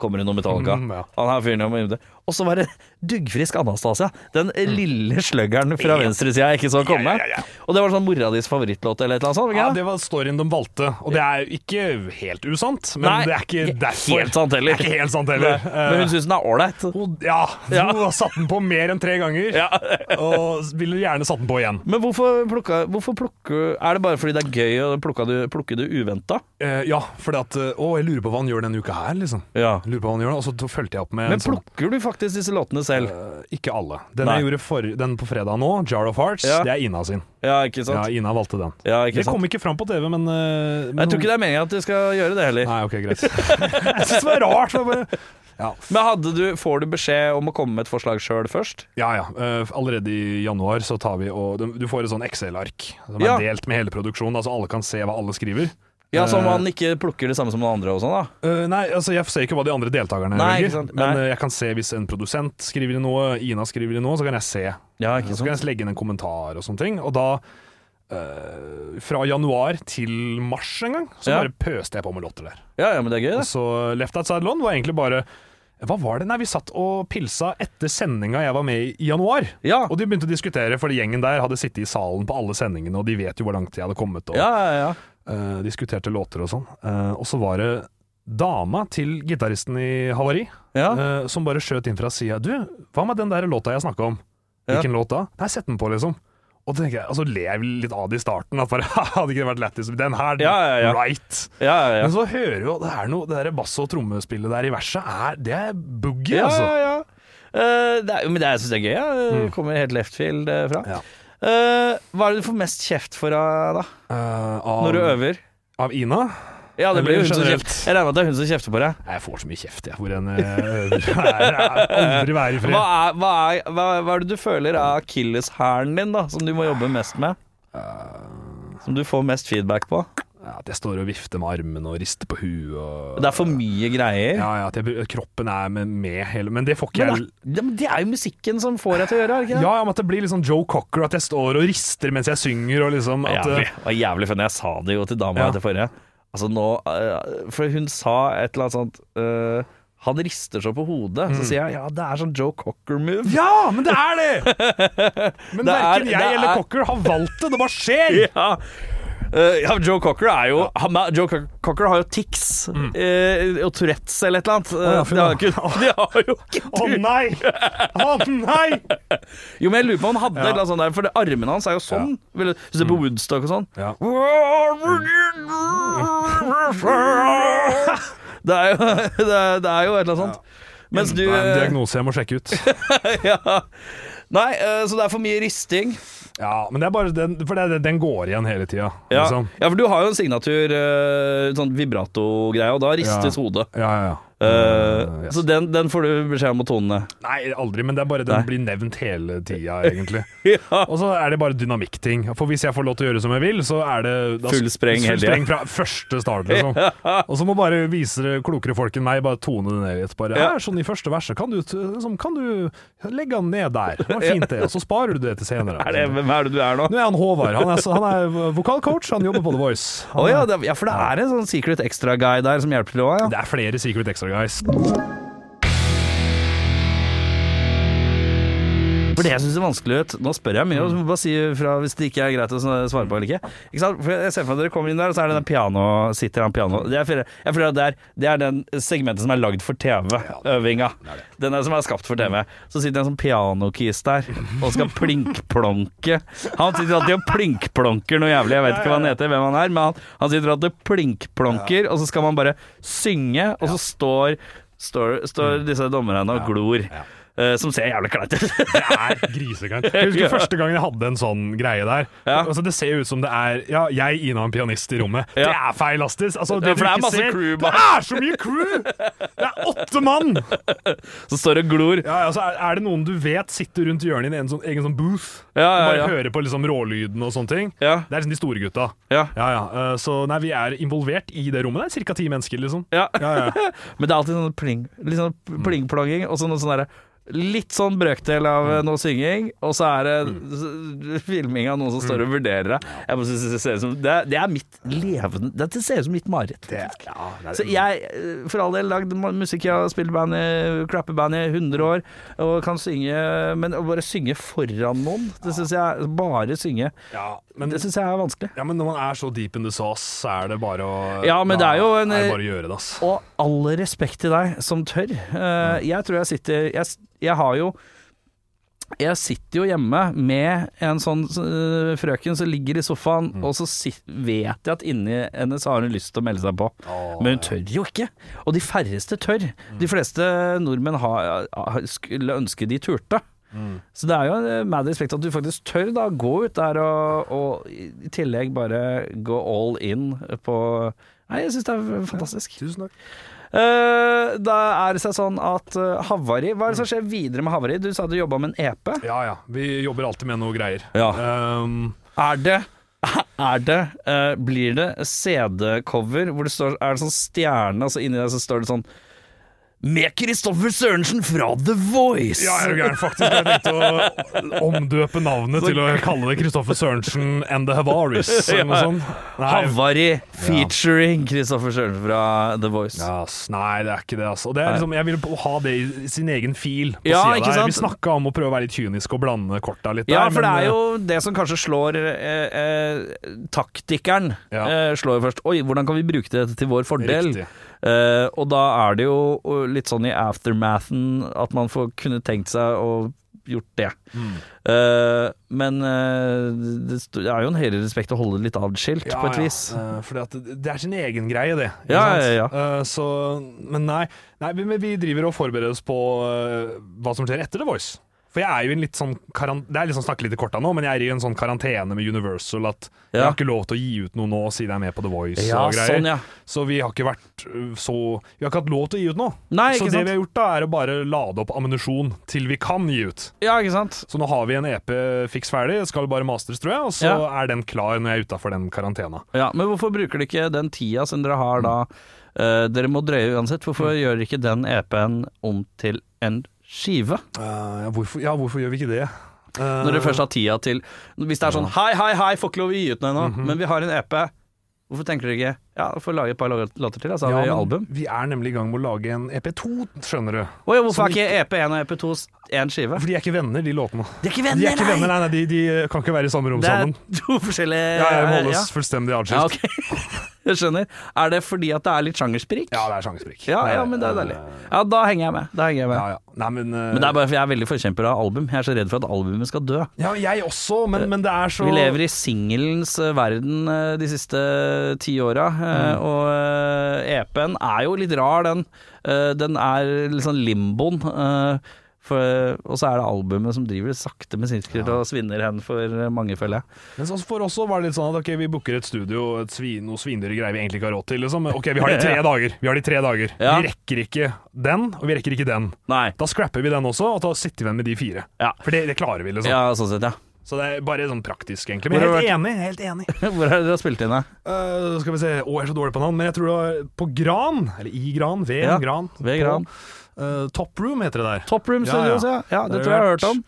Speaker 2: kommer det noe Metallica.
Speaker 3: Mm, ja.
Speaker 2: Han her fyren her må gjemme det. Og så var det duggfrisk Anastasia. Den lille sluggeren fra venstresida jeg ikke så komme.
Speaker 3: Mm. ja, ja, ja.
Speaker 2: Og det var sånn mora dis favorittlåt eller et eller annet sånt. ikke
Speaker 3: Ja,
Speaker 2: det?
Speaker 3: det var storyen de valgte, og det er jo ikke helt usant, men
Speaker 2: Nei,
Speaker 3: det er ikke
Speaker 2: ikke
Speaker 3: derfor.
Speaker 2: helt sant heller.
Speaker 3: Det er ikke helt sant
Speaker 2: Nei,
Speaker 3: heller.
Speaker 2: Men hun syns den er ålreit.
Speaker 3: Eh, hun- ja, hun
Speaker 2: Ja.
Speaker 3: har satt den på mer enn tre ganger, og ville gjerne satt den på igjen.
Speaker 2: Men hvorfor plukka hvorfor plukker- Er det bare fordi det er gøy å plukke det, plukke det uventa?
Speaker 3: Eh, ja, fordi at eh, Å, jeg lurer på hva han gjør denne uka her, liksom.
Speaker 2: Ja.
Speaker 3: Jeg Lurer på hva han gjør, Og så t- fulgte jeg opp med en
Speaker 2: Men
Speaker 3: sånn
Speaker 2: plukker du faktisk disse låtene selv?
Speaker 3: eh, Ikke alle. Den
Speaker 2: Nei.
Speaker 3: jeg gjorde for, den på fredag nå, Jar of Hearts,
Speaker 2: Ja.
Speaker 3: det er Ina sin.
Speaker 2: Ja, ikke
Speaker 3: Ja,
Speaker 2: sant?
Speaker 3: Ina valgte den.
Speaker 2: Ja, ikke
Speaker 3: Det
Speaker 2: sant?
Speaker 3: kom ikke fram på TV, men, eh, men
Speaker 2: Jeg tror ikke det er meninga at du skal gjøre det heller.
Speaker 3: Nei, ok, greit. jeg syns det var rart. det var bare- Ja.
Speaker 2: Men hadde du, får du beskjed om å komme med et forslag sjøl først?
Speaker 3: Ja, ja. Eh, allerede i januar så tar vi og Du får et sånn Excel-ark som
Speaker 2: Ja.
Speaker 3: er delt med hele produksjonen, altså alle kan se hva alle skriver.
Speaker 2: Ja, Som
Speaker 3: Eh,
Speaker 2: han ikke plukker det samme som noen andre og sånn, da?
Speaker 3: Eh, nei, altså jeg ser ikke hva de andre deltakerne
Speaker 2: Nei, ikke
Speaker 3: velger,
Speaker 2: sant.
Speaker 3: men
Speaker 2: Nei.
Speaker 3: eh, jeg kan se hvis en produsent skriver noe, Ina skriver noe, så kan jeg se.
Speaker 2: Ja,
Speaker 3: Så kan jeg legge inn en kommentar og sånne ting. Og da eh, fra januar til mars en gang, så
Speaker 2: Ja.
Speaker 3: bare pøste jeg på med låter der.
Speaker 2: Ja, ja, men det er gøy,
Speaker 3: Og
Speaker 2: det.
Speaker 3: så Left Outside Lon var egentlig bare Hva var det? Nei, vi satt og pilsa etter sendinga jeg var med i i januar.
Speaker 2: Ja.
Speaker 3: Og de begynte å diskutere, fordi gjengen der hadde sittet i salen på alle sendingene, og de vet jo hvor langt jeg hadde kommet, og
Speaker 2: Ja, ja, ja.
Speaker 3: eh, diskuterte låter og sånn. Eh, og så var det dama til gitaristen i Havari,
Speaker 2: ja.
Speaker 3: eh, som bare skjøt inn fra sida. Du, hva med den der låta jeg snakka om?
Speaker 2: Ja.
Speaker 3: Hvilken låt da? Nei, sett den på, liksom. Og da tenker jeg, altså ler jeg litt av det i starten, at bare hadde ikke det vært lættis? Den her,
Speaker 2: Ja, ja, ja.
Speaker 3: right!
Speaker 2: ja, ja, ja.
Speaker 3: Men så hører jo det er noe, det der bass- og trommespillet der i verset, er, det er boogie,
Speaker 2: Ja,
Speaker 3: altså. Mm.
Speaker 2: ja, ja. Eh, det er, men det er- jeg syns det er gøy. Ja. Det Kommer helt left field eh, fra.
Speaker 3: Ja.
Speaker 2: Eh, hva er det du får mest kjeft for, da?
Speaker 3: Eh, av,
Speaker 2: Når du øver?
Speaker 3: av Ina?
Speaker 2: Ja, det blir jo hun som
Speaker 3: Generelt.
Speaker 2: kjefter. Jeg regner med at det er hun som kjefter på deg.
Speaker 3: Nei, Jeg får så mye kjeft, jeg, hvor enn jeg øver. Jeg er Aldri være i fred.
Speaker 2: Hva er, hva, er, hva, hva er det du føler er akilleshæren din, da? Som du må jobbe mest med?
Speaker 3: Eh.
Speaker 2: Som du får mest feedback på?
Speaker 3: Ja, at jeg står og vifter med armene og rister på huet og
Speaker 2: Det er for mye greier.
Speaker 3: Ja, ja, at jeg, kroppen er med, med hele Men det får ikke
Speaker 2: Men
Speaker 3: jeg
Speaker 2: det, men det er jo musikken som får deg til å gjøre det, er det ikke det?
Speaker 3: Ja, men at det blir litt sånn Joe Cocker, at jeg står og rister mens jeg synger og liksom at,
Speaker 2: jævlig, det var jævlig funny. Jeg sa det jo til dama
Speaker 3: Ja.
Speaker 2: etter forrige. Altså nå eh, For hun sa et eller annet sånt eh, Han rister så på hodet.
Speaker 3: Mm.
Speaker 2: Så sier jeg ja, det er sånn Joe Cocker-move.
Speaker 3: Ja, men det er det! Men
Speaker 2: Det er-
Speaker 3: verken jeg
Speaker 2: det er-
Speaker 3: eller Cocker har valgt det, det bare skjer!
Speaker 2: Ja. Eh, ja, Joe Cocker er jo han, er- Joe Co- Cocker har jo tics eh, og Tourettes eller et eller annet. Eh,
Speaker 3: Mm. ja, fy
Speaker 2: det har
Speaker 3: da.
Speaker 2: jo ikke, de har jo ikke
Speaker 3: Å nei! Å nei!
Speaker 2: Jo, men jeg lurer på om han hadde
Speaker 3: Ja.
Speaker 2: et
Speaker 3: Mm.
Speaker 2: eller annet sånt der, for det, armene hans er jo sånn. Vil du se på Woodstock og sånn.
Speaker 3: Ja. Mm.
Speaker 2: Det er jo, det er, det er jo et eller annet sånt. Mens du eh,
Speaker 3: Det er en diagnose jeg må sjekke ut.
Speaker 2: ja. Nei, eh, så det er for mye risting.
Speaker 3: Ja, men det er bare den, for det er, den går igjen hele tida.
Speaker 2: Ja.
Speaker 3: Liksom.
Speaker 2: ja, for du har jo en signatur, eh, sånn vibrato-greie, og da ristes
Speaker 3: Ja.
Speaker 2: hodet.
Speaker 3: Ja, ja, ja.
Speaker 2: Eh,
Speaker 3: yes.
Speaker 2: Så den, den får du beskjed om å tone ned.
Speaker 3: Nei, aldri, men det er bare den blir nevnt hele tida, egentlig.
Speaker 2: Ja.
Speaker 3: Og så er det bare dynamikkting. For hvis jeg får lov til å gjøre som jeg vil, så er det da,
Speaker 2: Full spreng hele
Speaker 3: full
Speaker 2: tida.
Speaker 3: spreng fra første start, liksom. Og så må bare visere, klokere folk enn meg bare tone det ned litt. Bare,
Speaker 2: Ja.
Speaker 3: her, sånn i første verset, kan du, t- liksom, kan du legge han ned der? Det var fint, det. Og så sparer du det til senere.
Speaker 2: Er det, hvem er det du er nå?
Speaker 3: Nå er han Håvard. Han er, han er vokalcoach, han jobber på The Voice.
Speaker 2: Å
Speaker 3: Han
Speaker 2: ja,
Speaker 3: er-
Speaker 2: det, ja, for det er en sånn secret extra guy der som hjelper til òg, ja.
Speaker 3: det er flere Secret Extra Guys.
Speaker 2: For det jeg syns er vanskelig ut Nå spør jeg mye, og så må du bare si fra hvis det ikke er greit å sn- svare på eller ikke. ikke sant? For jeg ser for meg at dere kommer inn der, og så er det den piano Sitter han piano Det er, jeg føler at det er, det er den segmentet som er lagd for TV-øvinga. Den er som er skapt for TV. Så sitter en sånn pianokis der og skal plinkplonke. Han sitter alltid og plinkplonker noe jævlig. Jeg vet ikke hva han heter, hvem han er, men han, han sitter alltid og plinkplonker, og så skal man bare synge, og så står, står, står disse dommerne og glor. eh, som ser jævlig kleint ut.
Speaker 3: Det er grisekant. Jeg husker første gangen jeg hadde en sånn greie der.
Speaker 2: Ja.
Speaker 3: Altså, det ser jo ut som det er Ja, jeg, Ina, en pianist i rommet. Det
Speaker 2: Ja.
Speaker 3: er feil, Astis. Altså,
Speaker 2: Ja,
Speaker 3: det,
Speaker 2: for det er
Speaker 3: du ikke
Speaker 2: masse
Speaker 3: ser-
Speaker 2: crew bak.
Speaker 3: Det er så mye crew! Det er åtte mann!
Speaker 2: Så står det og glor.
Speaker 3: Ja, altså, er, er det noen du vet sitter rundt hjørnet i en sånn, egen sånn booth?
Speaker 2: Ja, ja,
Speaker 3: og bare
Speaker 2: ja.
Speaker 3: hører på liksom rålyden og sånne ting?
Speaker 2: Ja.
Speaker 3: Det er liksom de store gutta.
Speaker 2: Ja.
Speaker 3: Ja, ja. Eh, Så nei, vi er involvert i det rommet. Det er ca. ti mennesker, liksom.
Speaker 2: Ja.
Speaker 3: Ja, ja. Mm.
Speaker 2: Men det er alltid sånn pling, litt sånn pling-plonging, og så noe sånn derre Litt sånn brøkdel av
Speaker 3: Mm.
Speaker 2: eh, noe synging, og så er det s- filming av noen som
Speaker 3: Mm.
Speaker 2: står og vurderer det. Jeg bare synes det, ser ut som, det, er- det er mitt levende Det ser ut som mitt mareritt.
Speaker 3: Det, ja, det er-
Speaker 2: Så jeg, eh, for all del, lagd ma- musikk. Jeg har spilt band i crappeband i 100 år og kan synge Men å bare synge foran noen, det syns jeg Bare synge.
Speaker 3: ja, men,
Speaker 2: Det syns jeg er vanskelig.
Speaker 3: ja, men når man er så deep in the sauce, så er det bare å
Speaker 2: Ja, men
Speaker 3: da
Speaker 2: det er jo en- eh,
Speaker 3: er det bare å gjøre det, ass.
Speaker 2: Og all respekt til deg som tør. Eh, jeg tror jeg sitter Jeg, s- jeg har jo jeg sitter jo hjemme med en sånn eh, frøken som ligger i sofaen, og så sit, vet jeg at inni henne så har hun lyst til å melde seg på.
Speaker 3: Åh,
Speaker 2: Men hun tør jo ikke. Og de færreste tør. De fleste nordmenn har, har, skulle ønske de turte. Så det er jo en mad respekt at du faktisk tør da gå ut der og, og i tillegg bare gå all in på Nei, jeg syns det er fantastisk.
Speaker 3: Tusen takk.
Speaker 2: Eh, da er det seg sånn at eh, Havari Hva er det som skjer videre med Havari? Du sa du jobba med en E EP.
Speaker 3: Ja ja, vi jobber alltid med noe greier. Um,
Speaker 2: Er det er det, eh, Blir det CD-cover hvor det står Er det sånn stjerne, og så inni der så står det sånn Med Kristoffer Sørensen fra The Voice!
Speaker 3: Ja, jeg er jo gæren, faktisk. Jeg tenkte å omdøpe navnet til å kalle det Kristoffer Sørensen and The Havaris, eller noe sånt. Nei,
Speaker 2: Havari featuring Kristoffer Sørensen fra The Voice.
Speaker 3: ja, ass, nei, det er ikke det, altså. Og Det er liksom, jeg vil ha det i sin egen fil. På
Speaker 2: Ja,
Speaker 3: siden
Speaker 2: ikke
Speaker 3: der.
Speaker 2: sant?
Speaker 3: Vi snakka om å prøve å være litt kynisk og blande korta litt
Speaker 2: Ja,
Speaker 3: der,
Speaker 2: for det
Speaker 3: men,
Speaker 2: er
Speaker 3: eh,
Speaker 2: jo det som kanskje slår eh, eh, taktikeren.
Speaker 3: Ja.
Speaker 2: Eh, slår jo først Oi, hvordan kan vi bruke dette til vår fordel?
Speaker 3: Riktig.
Speaker 2: Eh, og da er det jo eh, litt sånn i aftermathen at man får kunne tenkt seg å gjort det.
Speaker 3: Mm.
Speaker 2: Eh, men eh, det sto- det er jo en høyere respekt å holde det litt adskilt,
Speaker 3: Ja,
Speaker 2: på et
Speaker 3: ja.
Speaker 2: vis.
Speaker 3: Eh, fordi at det, det er sin egen greie, det. ikke
Speaker 2: Ja,
Speaker 3: sant?
Speaker 2: ja, ja.
Speaker 3: Eh, så, men nei, nei vi, men vi driver og forbereder oss på eh, hva som skjer etter The Voice. For jeg er jo i en litt sånn karan- Det er liksom snakke litt i korta nå, men jeg er i en sånn karantene med Universal at jeg
Speaker 2: Ja.
Speaker 3: har ikke lov til å gi ut noe nå siden jeg er med på The Voice
Speaker 2: Ja,
Speaker 3: og greier.
Speaker 2: sånn, ja.
Speaker 3: Så vi har ikke vært øh, så Vi har ikke hatt lov til å gi ut noe.
Speaker 2: Nei, ikke
Speaker 3: så det
Speaker 2: sant?
Speaker 3: vi har gjort da, er å bare lade opp ammunisjon til vi kan gi ut.
Speaker 2: Ja, ikke sant?
Speaker 3: Så nå har vi en EP fiks ferdig, skal bare mastres, tror jeg, og så
Speaker 2: Ja.
Speaker 3: er den klar når jeg er utafor den karantena.
Speaker 2: Ja, men hvorfor bruker dere ikke den tida som dere har da eh, Dere må drøye uansett. Hvorfor
Speaker 3: Mm.
Speaker 2: gjør dere ikke den EP-en om til en skive?
Speaker 3: Eh, ja, hvorfor, ja, hvorfor gjør vi ikke det? Eh,
Speaker 2: Når dere først har tida til Hvis det er sånn Hei, hei, hei, får ikke lov å gi ut den ennå, men vi har en EP. Hvorfor tenker dere ikke Ja, får lage et par lå- låter til, da, så har
Speaker 3: ja,
Speaker 2: vi
Speaker 3: men
Speaker 2: album.
Speaker 3: Vi er nemlig i gang med å lage en EP2, skjønner du.
Speaker 2: Å ja, hvorfor
Speaker 3: som
Speaker 2: er ikke EP1 og EP2 s- én skive?
Speaker 3: For de er ikke venner, de låtene.
Speaker 2: De er ikke
Speaker 3: De er ikke venner,
Speaker 2: nei!
Speaker 3: nei, nei de, de kan ikke være i samme rom
Speaker 2: Det er
Speaker 3: sammen.
Speaker 2: to forskjellige
Speaker 3: Ja, jeg må
Speaker 2: ja.
Speaker 3: holdes fullstendig
Speaker 2: Ja,
Speaker 3: adskilt.
Speaker 2: ok. Jeg skjønner. Er det fordi at det er litt sjangersprik?
Speaker 3: Ja, det er sjangersprik.
Speaker 2: Ja, Eh. ja, men det er deilig. Ja, da henger jeg med. Da henger jeg med.
Speaker 3: Ja, ja. Nei, men, eh,
Speaker 2: Men det er bare fordi jeg er veldig forkjemper av album. Jeg er så redd for at albumet skal dø.
Speaker 3: Ja, jeg også, men, men det er så
Speaker 2: Vi lever i singelens eh, verden eh, de siste ti åra, eh, og eh, EP-en er jo litt rar, den. Eh, Den er litt sånn limboen. eh, For, og så er det albumet som driver sakte med sinnsskritt og svinner hen for eh, mange, føler jeg.
Speaker 3: Men så for oss så var det litt sånn at ok, vi booker et studio, et svin, noe svindyre greier vi egentlig ikke har råd til. Liksom. Ok, vi har de tre dager. Vi har de tre dager.
Speaker 2: Ja.
Speaker 3: Vi rekker ikke den, og vi rekker ikke den.
Speaker 2: Nei.
Speaker 3: Da scrapper vi den også, og da sitter vi igjen med de fire.
Speaker 2: Ja.
Speaker 3: For det, det klarer vi, liksom.
Speaker 2: Ja, sånn sett, ja.
Speaker 3: Så det er bare sånn praktisk, egentlig. Men
Speaker 2: Hvor har
Speaker 3: helt enig. helt enig.
Speaker 2: Hvor er det dere har spilt inn, da?
Speaker 3: Øh, skal vi se, å, jeg er så dårlig på navn, men jeg tror det var på Gran, eller i Gran, ved
Speaker 2: Ja,
Speaker 3: Gran.
Speaker 2: ved Gran.
Speaker 3: På, øh, Top Room heter det der.
Speaker 2: Top Room
Speaker 3: Ja,
Speaker 2: Studios,
Speaker 3: ja.
Speaker 2: ja. ja. det
Speaker 3: Det
Speaker 2: tror jeg jeg har hørt
Speaker 3: har
Speaker 2: om.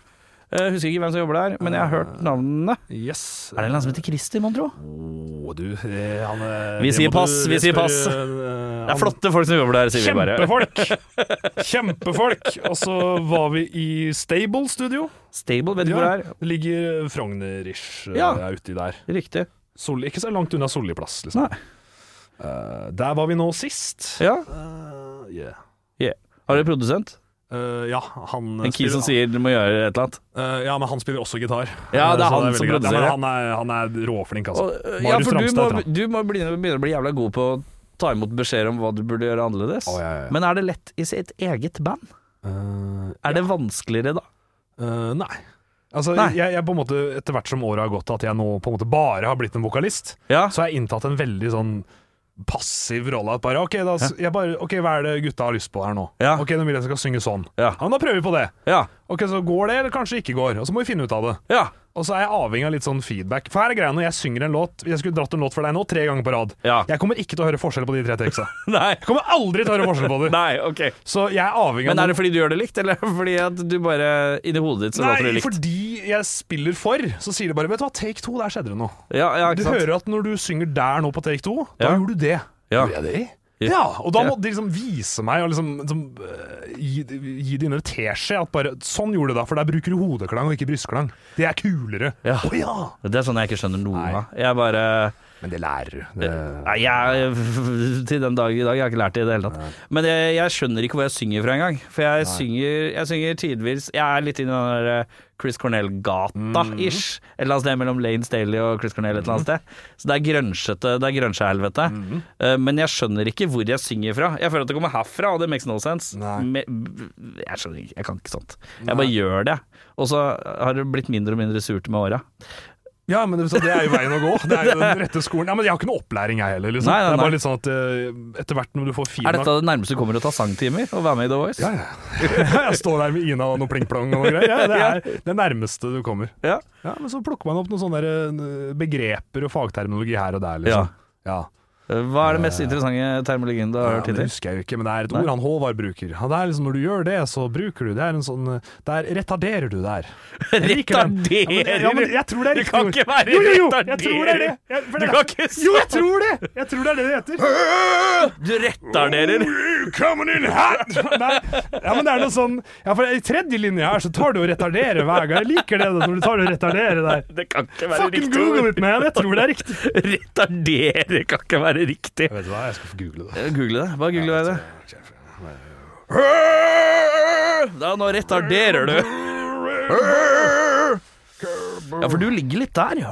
Speaker 2: Eh, husker ikke hvem som jobber der, men jeg har hørt navnene.
Speaker 3: Yes.
Speaker 2: Er det en eller annen som heter Christer, mon tro?
Speaker 3: Å, du, eh, han, eh,
Speaker 2: Vi
Speaker 3: det
Speaker 2: sier
Speaker 3: må
Speaker 2: pass,
Speaker 3: du-
Speaker 2: vi
Speaker 3: det
Speaker 2: sier
Speaker 3: spør,
Speaker 2: pass.
Speaker 3: eh,
Speaker 2: Det
Speaker 3: han-
Speaker 2: er flotte folk som jobber der, sier vi bare.
Speaker 3: Kjempefolk! Kjempefolk! Og så var vi i Stable Studio.
Speaker 2: Stable, vet du hvor det er?
Speaker 3: Det ligger Frogner-ish eh,
Speaker 2: Ja.
Speaker 3: er uti der.
Speaker 2: Riktig.
Speaker 3: Sol, ikke så langt unna Solli plass, liksom.
Speaker 2: Nei.
Speaker 3: Eh, der var vi nå sist.
Speaker 2: Ja.
Speaker 3: Eh, yeah.
Speaker 2: Yeah. Har dere produsent?
Speaker 3: Eh, ja, han
Speaker 2: En key som sier du må gjøre et eller annet?
Speaker 3: Eh, ja, men han spiller også gitar. Eh,
Speaker 2: Ja, det er
Speaker 3: Så
Speaker 2: han
Speaker 3: veldig
Speaker 2: som
Speaker 3: greit.
Speaker 2: produserer.
Speaker 3: Ja, men han, er, han er råflink, altså.
Speaker 2: Og, øh, ja,
Speaker 3: Marius
Speaker 2: for du
Speaker 3: Ramstad
Speaker 2: må,
Speaker 3: heter han.
Speaker 2: du må bli- begynne å bli jævla god på å ta imot beskjeder om hva du burde gjøre annerledes.
Speaker 3: Å, ja, ja, ja.
Speaker 2: Men er det lett i sitt eget band?
Speaker 3: Eh,
Speaker 2: Er det vanskeligere da?
Speaker 3: Eh, nei. Altså,
Speaker 2: Nei.
Speaker 3: Jeg, jeg på en måte, etter hvert som året har gått, at jeg nå på en måte bare har blitt en vokalist,
Speaker 2: Ja.
Speaker 3: så har jeg inntatt en veldig sånn passiv rolle. At bare, ok, da, s- jeg bare, ok, hva er det gutta har lyst på her nå?
Speaker 2: Ja.
Speaker 3: Ok, nå vil jeg skal synge sånn.
Speaker 2: Ja.
Speaker 3: men da prøver vi på det.
Speaker 2: Ja.
Speaker 3: Ok, så går det, eller kanskje ikke går. Og så må vi finne ut av det.
Speaker 2: Ja.
Speaker 3: Og så er jeg avhengig av litt sånn feedback. For her er greia når jeg synger en låt Hvis jeg skulle dratt en låt for deg nå tre ganger på rad
Speaker 2: Ja.
Speaker 3: Jeg kommer ikke til å høre forskjell på de tre teksta.
Speaker 2: Nei.
Speaker 3: Jeg kommer aldri til å høre forskjell på dem.
Speaker 2: Nei, ok.
Speaker 3: Så jeg er avhengig
Speaker 2: Men
Speaker 3: av
Speaker 2: er det fordi du gjør det likt, eller er det fordi at du bare inni hodet ditt så låter det
Speaker 3: Nei,
Speaker 2: likt?
Speaker 3: fordi jeg spiller for, så sier de bare Vet du hva, take two, der skjedde det noe.
Speaker 2: Ja, ja,
Speaker 3: Du
Speaker 2: ikke sant?
Speaker 3: hører at når du synger der nå på take two, da
Speaker 2: Ja.
Speaker 3: gjorde du det.
Speaker 2: Ja.
Speaker 3: Gjorde jeg det?
Speaker 2: Ja.
Speaker 3: Ja, og da
Speaker 2: Ja.
Speaker 3: måtte de liksom vise meg og liksom, liksom øh, gi, gi det inn en teskje at bare Sånn gjorde du da, for der bruker du hodeklang og ikke brystklang. Det er kulere. Å
Speaker 2: Ja.
Speaker 3: ja.
Speaker 2: Det er sånn jeg ikke skjønner noe
Speaker 3: Nei.
Speaker 2: av. Jeg bare
Speaker 3: Men det lærer du. Det...
Speaker 2: Nei, jeg, til den dag i dag. Jeg har ikke lært det i det hele tatt. Men jeg, jeg skjønner ikke hvor jeg synger fra engang. For jeg synger, jeg synger tidvis Jeg er litt i den der eh, Chris Cornell-gata-ish.
Speaker 3: Mhm.
Speaker 2: Et eller annet sted mellom Lane Staley og Chris Cornell et eller annet sted. Så det er grønsjete, det er grønsjehelvete.
Speaker 3: Mhm.
Speaker 2: Eh, Men jeg skjønner ikke hvor jeg synger fra. Jeg føler at det kommer herfra, og det makes no sense.
Speaker 3: Nei.
Speaker 2: Me- Jeg skjønner ikke, jeg kan ikke sånt. Jeg bare gjør det. Og så har det blitt mindre og mindre surt med åra.
Speaker 3: Ja, men det, så det er jo veien å gå. Det er jo den rette skolen. Ja, men jeg har ikke noe opplæring, jeg heller. Liksom.
Speaker 2: Nei, nei,
Speaker 3: Det er
Speaker 2: nei.
Speaker 3: bare litt sånn at øh, etter hvert når du får fin
Speaker 2: Er dette det nærmeste du kommer å ta sangtimer? Å være med i The Voice?
Speaker 3: Ja, ja. Jeg står der med Ina og noe pling-plong og noe greier. Ja, det er det nærmeste du kommer.
Speaker 2: Ja.
Speaker 3: Ja, Men så plukker man opp noen sånne der, eh, begreper og fagterminologi her og der. Liksom. Ja.
Speaker 2: Hva er det mest interessante termologien du har
Speaker 3: Ja,
Speaker 2: hørt
Speaker 3: men det
Speaker 2: hittil?
Speaker 3: husker jeg jo ikke, men det er et
Speaker 2: Nei.
Speaker 3: ord han Håvard bruker. Han, det er liksom, når du gjør det, så bruker du det. er en sånn eh, Der retarderer du der. Jeg liker den. Ja, men, det- ja, men jeg tror det er
Speaker 2: Det
Speaker 3: riktig
Speaker 2: kan
Speaker 3: ord.
Speaker 2: ikke være
Speaker 3: Jo, jo, jo! Jeg
Speaker 2: retarderer.
Speaker 3: tror det er det. Jeg, for
Speaker 2: Du
Speaker 3: det er-
Speaker 2: kan ikke si
Speaker 3: Jo, jeg tror det! Jeg tror det er det det heter.
Speaker 2: Du retarderer.
Speaker 3: You coming in hot! Nei, ja, men det er noe sånn Ja, for i tredje linje her så tar du og retarderer hver gang. Jeg liker det da, når du tar og retarderer der.
Speaker 2: Oh, Det kan ikke være
Speaker 3: Fucking
Speaker 2: riktig
Speaker 3: google
Speaker 2: ord.
Speaker 3: it, man! Jeg tror det er riktig.
Speaker 2: Retardere kan ikke være riktig.
Speaker 3: Vet du hva, jeg skal få google det.
Speaker 2: Google det. Bare google det. Da, nå retarderer du. Ja, for du ligger litt der.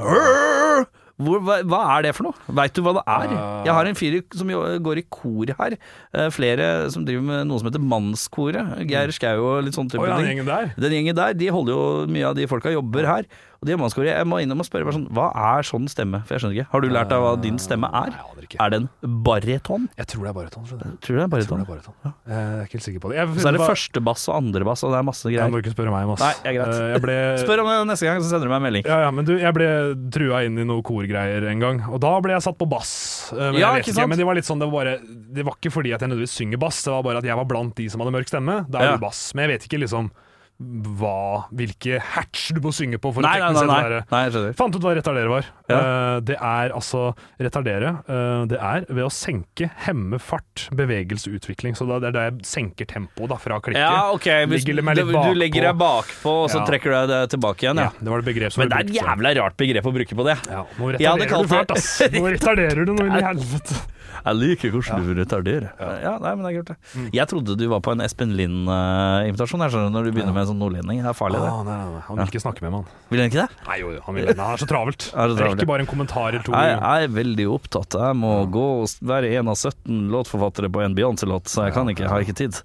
Speaker 2: Hvor, hva, hva er det for noe? Veit du hva det er?
Speaker 3: Ah.
Speaker 2: Jeg har en fyr som jo går i kor her. Eh, Flere som driver med noe som heter Mannskoret. Geir Skau og litt sånn type
Speaker 3: Oi, den
Speaker 2: ting.
Speaker 3: gjengen der.
Speaker 2: Den gjengen der, de holder jo mye av de folka jobber her. Og de har mannskoret. Jeg må innom og spørre bare sånn, hva er sånn stemme? For jeg skjønner ikke. Har du lært deg hva din stemme er?
Speaker 3: Nei, jeg aner ikke.
Speaker 2: Er det en baryton?
Speaker 3: Jeg tror det er baryton. skjønner du.
Speaker 2: Tror du det er
Speaker 3: Jeg
Speaker 2: baryton?
Speaker 3: tror det er baryton. Jeg er ikke helt sikker på det. Jeg,
Speaker 2: Så er det førstebass og andrebass, og det er masse
Speaker 3: Jeg
Speaker 2: greier.
Speaker 3: må ikke spørre meg om ass.
Speaker 2: Nei, det er greit.
Speaker 3: Eh, Jeg ble
Speaker 2: Spør om det neste gang, så sender du meg en melding.
Speaker 3: ja, ja, men du, jeg ble trua inn i noe korgreier en gang, og da ble jeg satt på bass. Eh, Men,
Speaker 2: Ja,
Speaker 3: jeg vet
Speaker 2: ikke sant?
Speaker 3: men det var litt sånn, det var, bare, det var ikke fordi at jeg nødvendigvis synger bass, det var bare at jeg var blant de som hadde mørk stemme. Da er
Speaker 2: Ja.
Speaker 3: du bass. Men jeg vet ikke liksom hva, hvilke hatch du må synge på for
Speaker 2: Nei, nei,
Speaker 3: å teknisk
Speaker 2: nei.
Speaker 3: sett
Speaker 2: nei.
Speaker 3: være
Speaker 2: nei jeg skjønner.
Speaker 3: Fant ut hva retardere var.
Speaker 2: Ja.
Speaker 3: Eh, det er altså retardere. eh, det er ved å senke, hemme fart, bevegelseutvikling. Så da- det er da jeg senker tempoet da, fra klikket.
Speaker 2: Ja, ok. Hvis du,
Speaker 3: Ligger meg litt
Speaker 2: du legger deg
Speaker 3: bakpå.
Speaker 2: bakpå, og så
Speaker 3: Ja.
Speaker 2: trekker du deg tilbake igjen.
Speaker 3: Ja,
Speaker 2: Ja.
Speaker 3: det var det begrep som
Speaker 2: Men det er
Speaker 3: ble
Speaker 2: et
Speaker 3: brukt, så.
Speaker 2: jævla rart begrep å bruke på det.
Speaker 3: Ja, nå
Speaker 2: Jeg hadde
Speaker 3: retarderer
Speaker 2: kalt
Speaker 3: du fælt,
Speaker 2: det-
Speaker 3: ass. Nå retarderer du noe inn i helvete.
Speaker 2: Jeg liker hvordan du retarderer. Ja, nei, men det er kult, det. Jeg trodde du var på en Espen Lind-invitasjon, jeg skjønner, når du begynner med en sånn nordlending. Det er farlig, det.
Speaker 3: Ah, nei, nei, nei. Han vil ikke snakke med meg, han.
Speaker 2: Vil du ikke det?
Speaker 3: Nei, jo, jo, han, vil, han er så travelt.
Speaker 2: Er så travelt, ja.
Speaker 3: Rekker bare en kommentar eller to.
Speaker 2: Jeg, jeg er veldig opptatt. Jeg må gå og s- være en av 17 låtforfattere på en Beyoncé-låt, så jeg kan ikke, har ikke tid.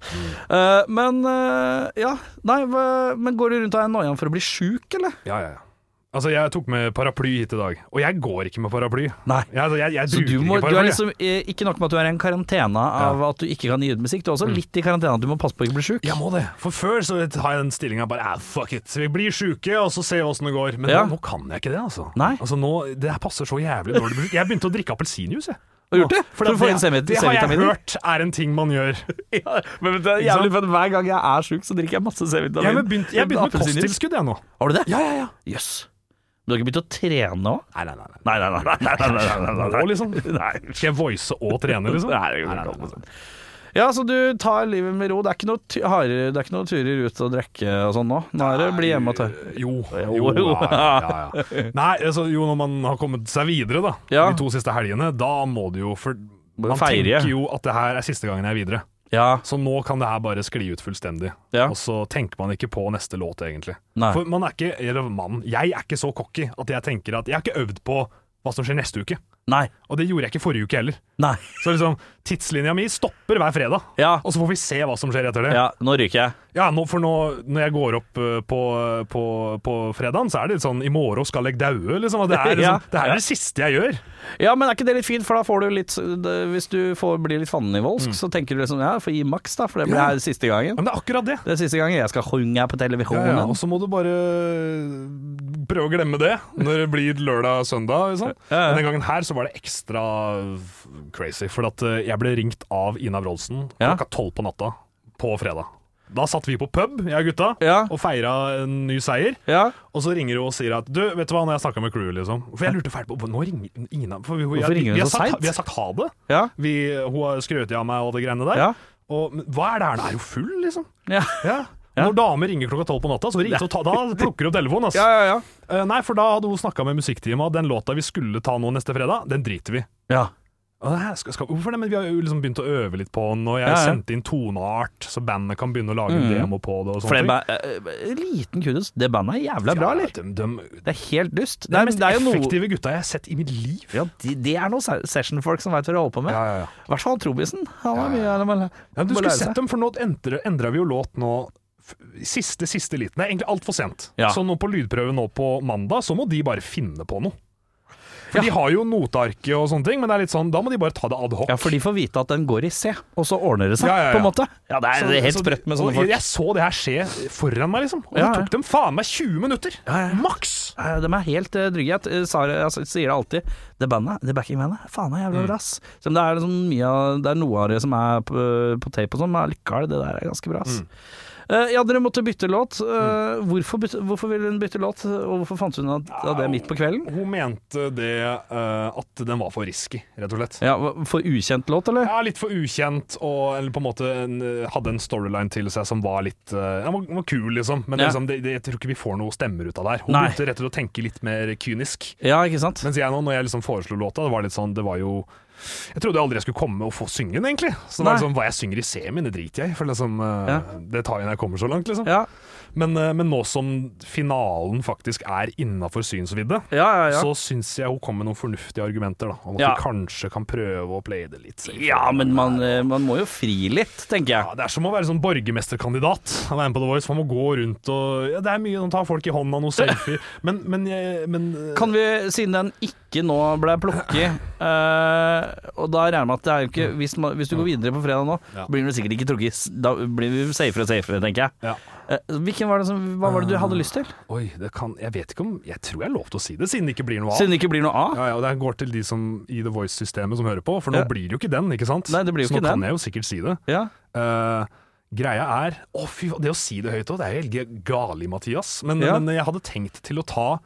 Speaker 2: Eh, men eh, ja, nei, hva- men går du rundt og er noiaen for å bli sjuk, eller?
Speaker 3: Ja, ja, ja. Altså, jeg tok med paraply hit i dag, og jeg går ikke med paraply.
Speaker 2: Nei.
Speaker 3: Jeg, altså, jeg, jeg
Speaker 2: Så
Speaker 3: bruker
Speaker 2: du, må,
Speaker 3: ikke
Speaker 2: du
Speaker 3: paraply.
Speaker 2: er liksom eh, ikke nok med at du er i en karantene av at du ikke kan gi ut musikk, du er også litt i karantene at du må passe på å ikke bli sjuk.
Speaker 3: Jeg må det. For før så har jeg den stillinga bare ah, fuck it. Vi blir sjuke, og så ser vi åssen det går. Men
Speaker 2: Ja.
Speaker 3: nå, nå kan jeg ikke det, altså.
Speaker 2: Nei.
Speaker 3: Altså nå, Det her passer så jævlig dårlig. Jeg begynte å drikke appelsinjuice, jeg.
Speaker 2: Har du gjort det?
Speaker 3: Nå.
Speaker 2: For å få inn
Speaker 3: det,
Speaker 2: semi-
Speaker 3: det har jeg
Speaker 2: C-vitaminer?
Speaker 3: hørt er en ting man gjør.
Speaker 2: Ja, men det er
Speaker 3: Ikke sant?
Speaker 2: jævlig fett. Hver gang jeg er sjuk, så drikker jeg masse C-vitamin.
Speaker 3: Jeg har begynt, jeg begynte med
Speaker 2: Appelsinjuice.
Speaker 3: kosttilskudd, jeg nå.
Speaker 2: Har du det?
Speaker 3: Ja, ja, ja.
Speaker 2: Jøss. Men du har ikke begynt å trene òg?
Speaker 3: Nei, nei, nei. nei.
Speaker 2: Nei, nei, nei. nei, nei, nei, nei, nei,
Speaker 3: Nå, liksom.
Speaker 2: Nei.
Speaker 3: Skal jeg voice og trene, liksom?
Speaker 2: Nei, det går ikke an, altså. Ja, så du tar livet med ro. Det er ikke noe, tu- hardere- det er ikke noe turer ut og drikke og sånn nå. Nå er det bli hjemme og ta
Speaker 3: Jo.
Speaker 2: Jo, jo.
Speaker 3: Ja, ja, ja, ja. Nei, altså, jo, når man har kommet seg videre, da,
Speaker 2: Ja.
Speaker 3: de to siste helgene, da må det jo for Man
Speaker 2: feire.
Speaker 3: tenker jo at det her er siste gangen jeg er videre.
Speaker 2: Ja.
Speaker 3: Så nå kan det her bare skli ut fullstendig.
Speaker 2: Ja.
Speaker 3: Og så tenker man ikke på neste låt, egentlig.
Speaker 2: Nei.
Speaker 3: For man er ikke, eller mann, jeg er ikke så cocky at jeg tenker at Jeg har ikke øvd på hva som skjer neste uke.
Speaker 2: Nei.
Speaker 3: Og det gjorde jeg ikke forrige uke heller.
Speaker 2: Nei.
Speaker 3: Så liksom, tidslinja mi stopper hver fredag.
Speaker 2: Ja.
Speaker 3: Og så får vi se hva som skjer etter det.
Speaker 2: ja. Nå ryker jeg.
Speaker 3: Ja, nå, for nå, når jeg går opp eh, på, på, på fredagen, så er det litt sånn I morgen skal jeg daue, liksom. Og det er, liksom,
Speaker 2: Ja.
Speaker 3: det her er det siste jeg gjør.
Speaker 2: Ja, men er ikke det litt fint, for da får du litt det- Hvis du får, blir litt fannenivoldsk, så tenker du liksom ja, får gi maks, da, for det blir
Speaker 3: Ja.
Speaker 2: her siste gangen.
Speaker 3: Men det er akkurat det.
Speaker 2: Det er siste gangen jeg skal synge på
Speaker 3: Ja,
Speaker 2: televisjonen.
Speaker 3: ja, og så må du bare eh, prøve å glemme det når det blir lørdag-søndag. Liksom.
Speaker 2: Ja, ja.
Speaker 3: Men Den gangen her så var det ekstra crazy, for at eh, jeg ble ringt av Ina Wroldsen
Speaker 2: Ja.
Speaker 3: klokka tolv på natta på fredag. Da satt vi på pub, jeg og gutta,
Speaker 2: Ja.
Speaker 3: og feira en ny seier.
Speaker 2: Ja.
Speaker 3: Og så ringer hun og sier at Du, vet du hva, når jeg snakka med crewet, liksom For jeg lurte fælt på Nå ringer Ina for vi,
Speaker 2: Hvorfor ringer hun
Speaker 3: vi, har
Speaker 2: så
Speaker 3: sagt,
Speaker 2: sent?
Speaker 3: vi har sagt ha det.
Speaker 2: Ja.
Speaker 3: Vi, hun har skrøt av meg og det greiene der.
Speaker 2: Ja.
Speaker 3: Og men hva er det her? Er hun full, liksom?
Speaker 2: Ja.
Speaker 3: Ja. Når damer ringer klokka tolv på natta, så, ringer, så ta, da plukker du opp telefonen. Ass.
Speaker 2: Ja, ja, ja.
Speaker 3: Eh, nei, for da hadde hun snakka med Musikktima, og den låta vi skulle ta nå neste fredag, den driter vi.
Speaker 2: ja.
Speaker 3: Og det her Skal, skal, hvorfor det? Men vi har jo liksom begynt å øve litt på den, og
Speaker 2: Ja,
Speaker 3: jeg
Speaker 2: ja.
Speaker 3: sendte inn toneart, så bandet kan begynne å lage en
Speaker 2: Mm.
Speaker 3: demo på det. Og
Speaker 2: For det
Speaker 3: sånne ting.
Speaker 2: ba- eh, eh, Liten kudos. Det bandet er jævla bra, eller?
Speaker 3: Ja, de, de,
Speaker 2: Det er helt dust.
Speaker 3: det
Speaker 2: Nei,
Speaker 3: er
Speaker 2: men
Speaker 3: mest
Speaker 2: det er jo noe
Speaker 3: effektive gutta jeg har sett i mitt liv.
Speaker 2: ja, de, Det er noen se- sessionfolk som veit hva de holder på med.
Speaker 3: Ja, ja, ja.
Speaker 2: I hvert fall Trobisen. Han har mye han har-
Speaker 3: Ja, men du
Speaker 2: må
Speaker 3: skulle
Speaker 2: lære seg.
Speaker 3: sett dem, for nå endra, endra vi jo låt nå f- siste, siste liten. Det er egentlig altfor sent.
Speaker 2: Ja.
Speaker 3: Så nå på lydprøve nå på mandag, så må de bare finne på noe. For
Speaker 2: Ja.
Speaker 3: de har jo notearket og sånne ting, men det er litt sånn, da må de bare ta det ad hoc.
Speaker 2: Ja, for de får vite at den går i C, og så ordner det seg,
Speaker 3: Ja, ja, ja.
Speaker 2: på en måte. Ja, det
Speaker 3: Så-
Speaker 2: er, det er helt
Speaker 3: så-
Speaker 2: sprøtt med sånne
Speaker 3: og
Speaker 2: folk.
Speaker 3: Jeg så det her skje foran meg, liksom. Og
Speaker 2: Ja, ja.
Speaker 3: det tok dem faen meg 20 minutter!
Speaker 2: Ja, ja.
Speaker 3: Maks!
Speaker 2: Eh, De er helt eh, drygge. Jeg eh, sa- jeg s- sier det alltid. Det bandet, det backingbandet, faen er jævla bra, ass. Selv om det er, liksom mye av, det er noe av det som er på, på tape og sånn, men allikevel, det der er ganske bra, ass. Eh, ja, dere måtte bytte låt. Eh, hvorfor, bytte, hvorfor ville hun bytte låt, og hvorfor fant hun ut av det midt på kvelden?
Speaker 3: Hun mente det eh, at den var for risky, rett og slett.
Speaker 2: Ja, hva- For ukjent låt, eller?
Speaker 3: Ja, litt for ukjent, og eller på en måte en, eh, hadde en storyline til seg som var litt eh, Den var, den var kul, liksom. Men
Speaker 2: Ja.
Speaker 3: liksom, det, det, jeg tror ikke vi får noe stemmer ut av det her. Hun
Speaker 2: Nei.
Speaker 3: begynte rett og slett å tenke litt mer kynisk.
Speaker 2: Ja, ikke sant?
Speaker 3: Mens jeg nå, når jeg liksom foreslo låta, det var litt sånn Det var jo Jeg trodde aldri jeg skulle komme og få synge den, egentlig. Så det var
Speaker 2: Nei.
Speaker 3: liksom, hva jeg synger i semien, det driter jeg i. For liksom, eh,
Speaker 2: Ja.
Speaker 3: det tar jeg når jeg kommer så langt, liksom.
Speaker 2: Ja,
Speaker 3: Men, eh, men nå som finalen faktisk er innafor synsvidde,
Speaker 2: ja, ja. ja.
Speaker 3: så syns jeg hun kom med noen fornuftige argumenter. da Om at
Speaker 2: Ja.
Speaker 3: vi kanskje kan prøve å playe det litt safe.
Speaker 2: ja men man, eh, man må jo fri litt, tenker jeg.
Speaker 3: Ja, det er som å være sånn borgermesterkandidat. Han er med på The Voice, for han må gå rundt og ja, Det er mye, han tar folk i hånda, noen selfier Men, men, jeg- men eh,
Speaker 2: Kan vi, siden den ikke nå ble plukket eh, Og da regner jeg med at det er jo ikke Hvis, man, hvis du går videre på fredag nå,
Speaker 3: Ja.
Speaker 2: blir den sikkert ikke trukket. s- Da blir vi safere og safere, tenker jeg.
Speaker 3: ja.
Speaker 2: Eh, hvilken var det som, hva var det du hadde lyst til?
Speaker 3: Oi, det kan Jeg vet ikke om Jeg tror jeg er lov til å si det, siden det ikke blir noe av.
Speaker 2: Siden det ikke blir noe av?
Speaker 3: Ja, ja, og Det her går til de som i The Voice-systemet som hører på, for nå
Speaker 2: Ja.
Speaker 3: blir det jo ikke den, ikke sant?
Speaker 2: Nei, det blir jo
Speaker 3: Så nå
Speaker 2: ikke den.
Speaker 3: kan jeg jo sikkert si det.
Speaker 2: Ja.
Speaker 3: Eh, greia er Å, fy faen, det å si det høyt òg, det er jo helt gali, Mathias. Men,
Speaker 2: Ja.
Speaker 3: men jeg hadde tenkt til å ta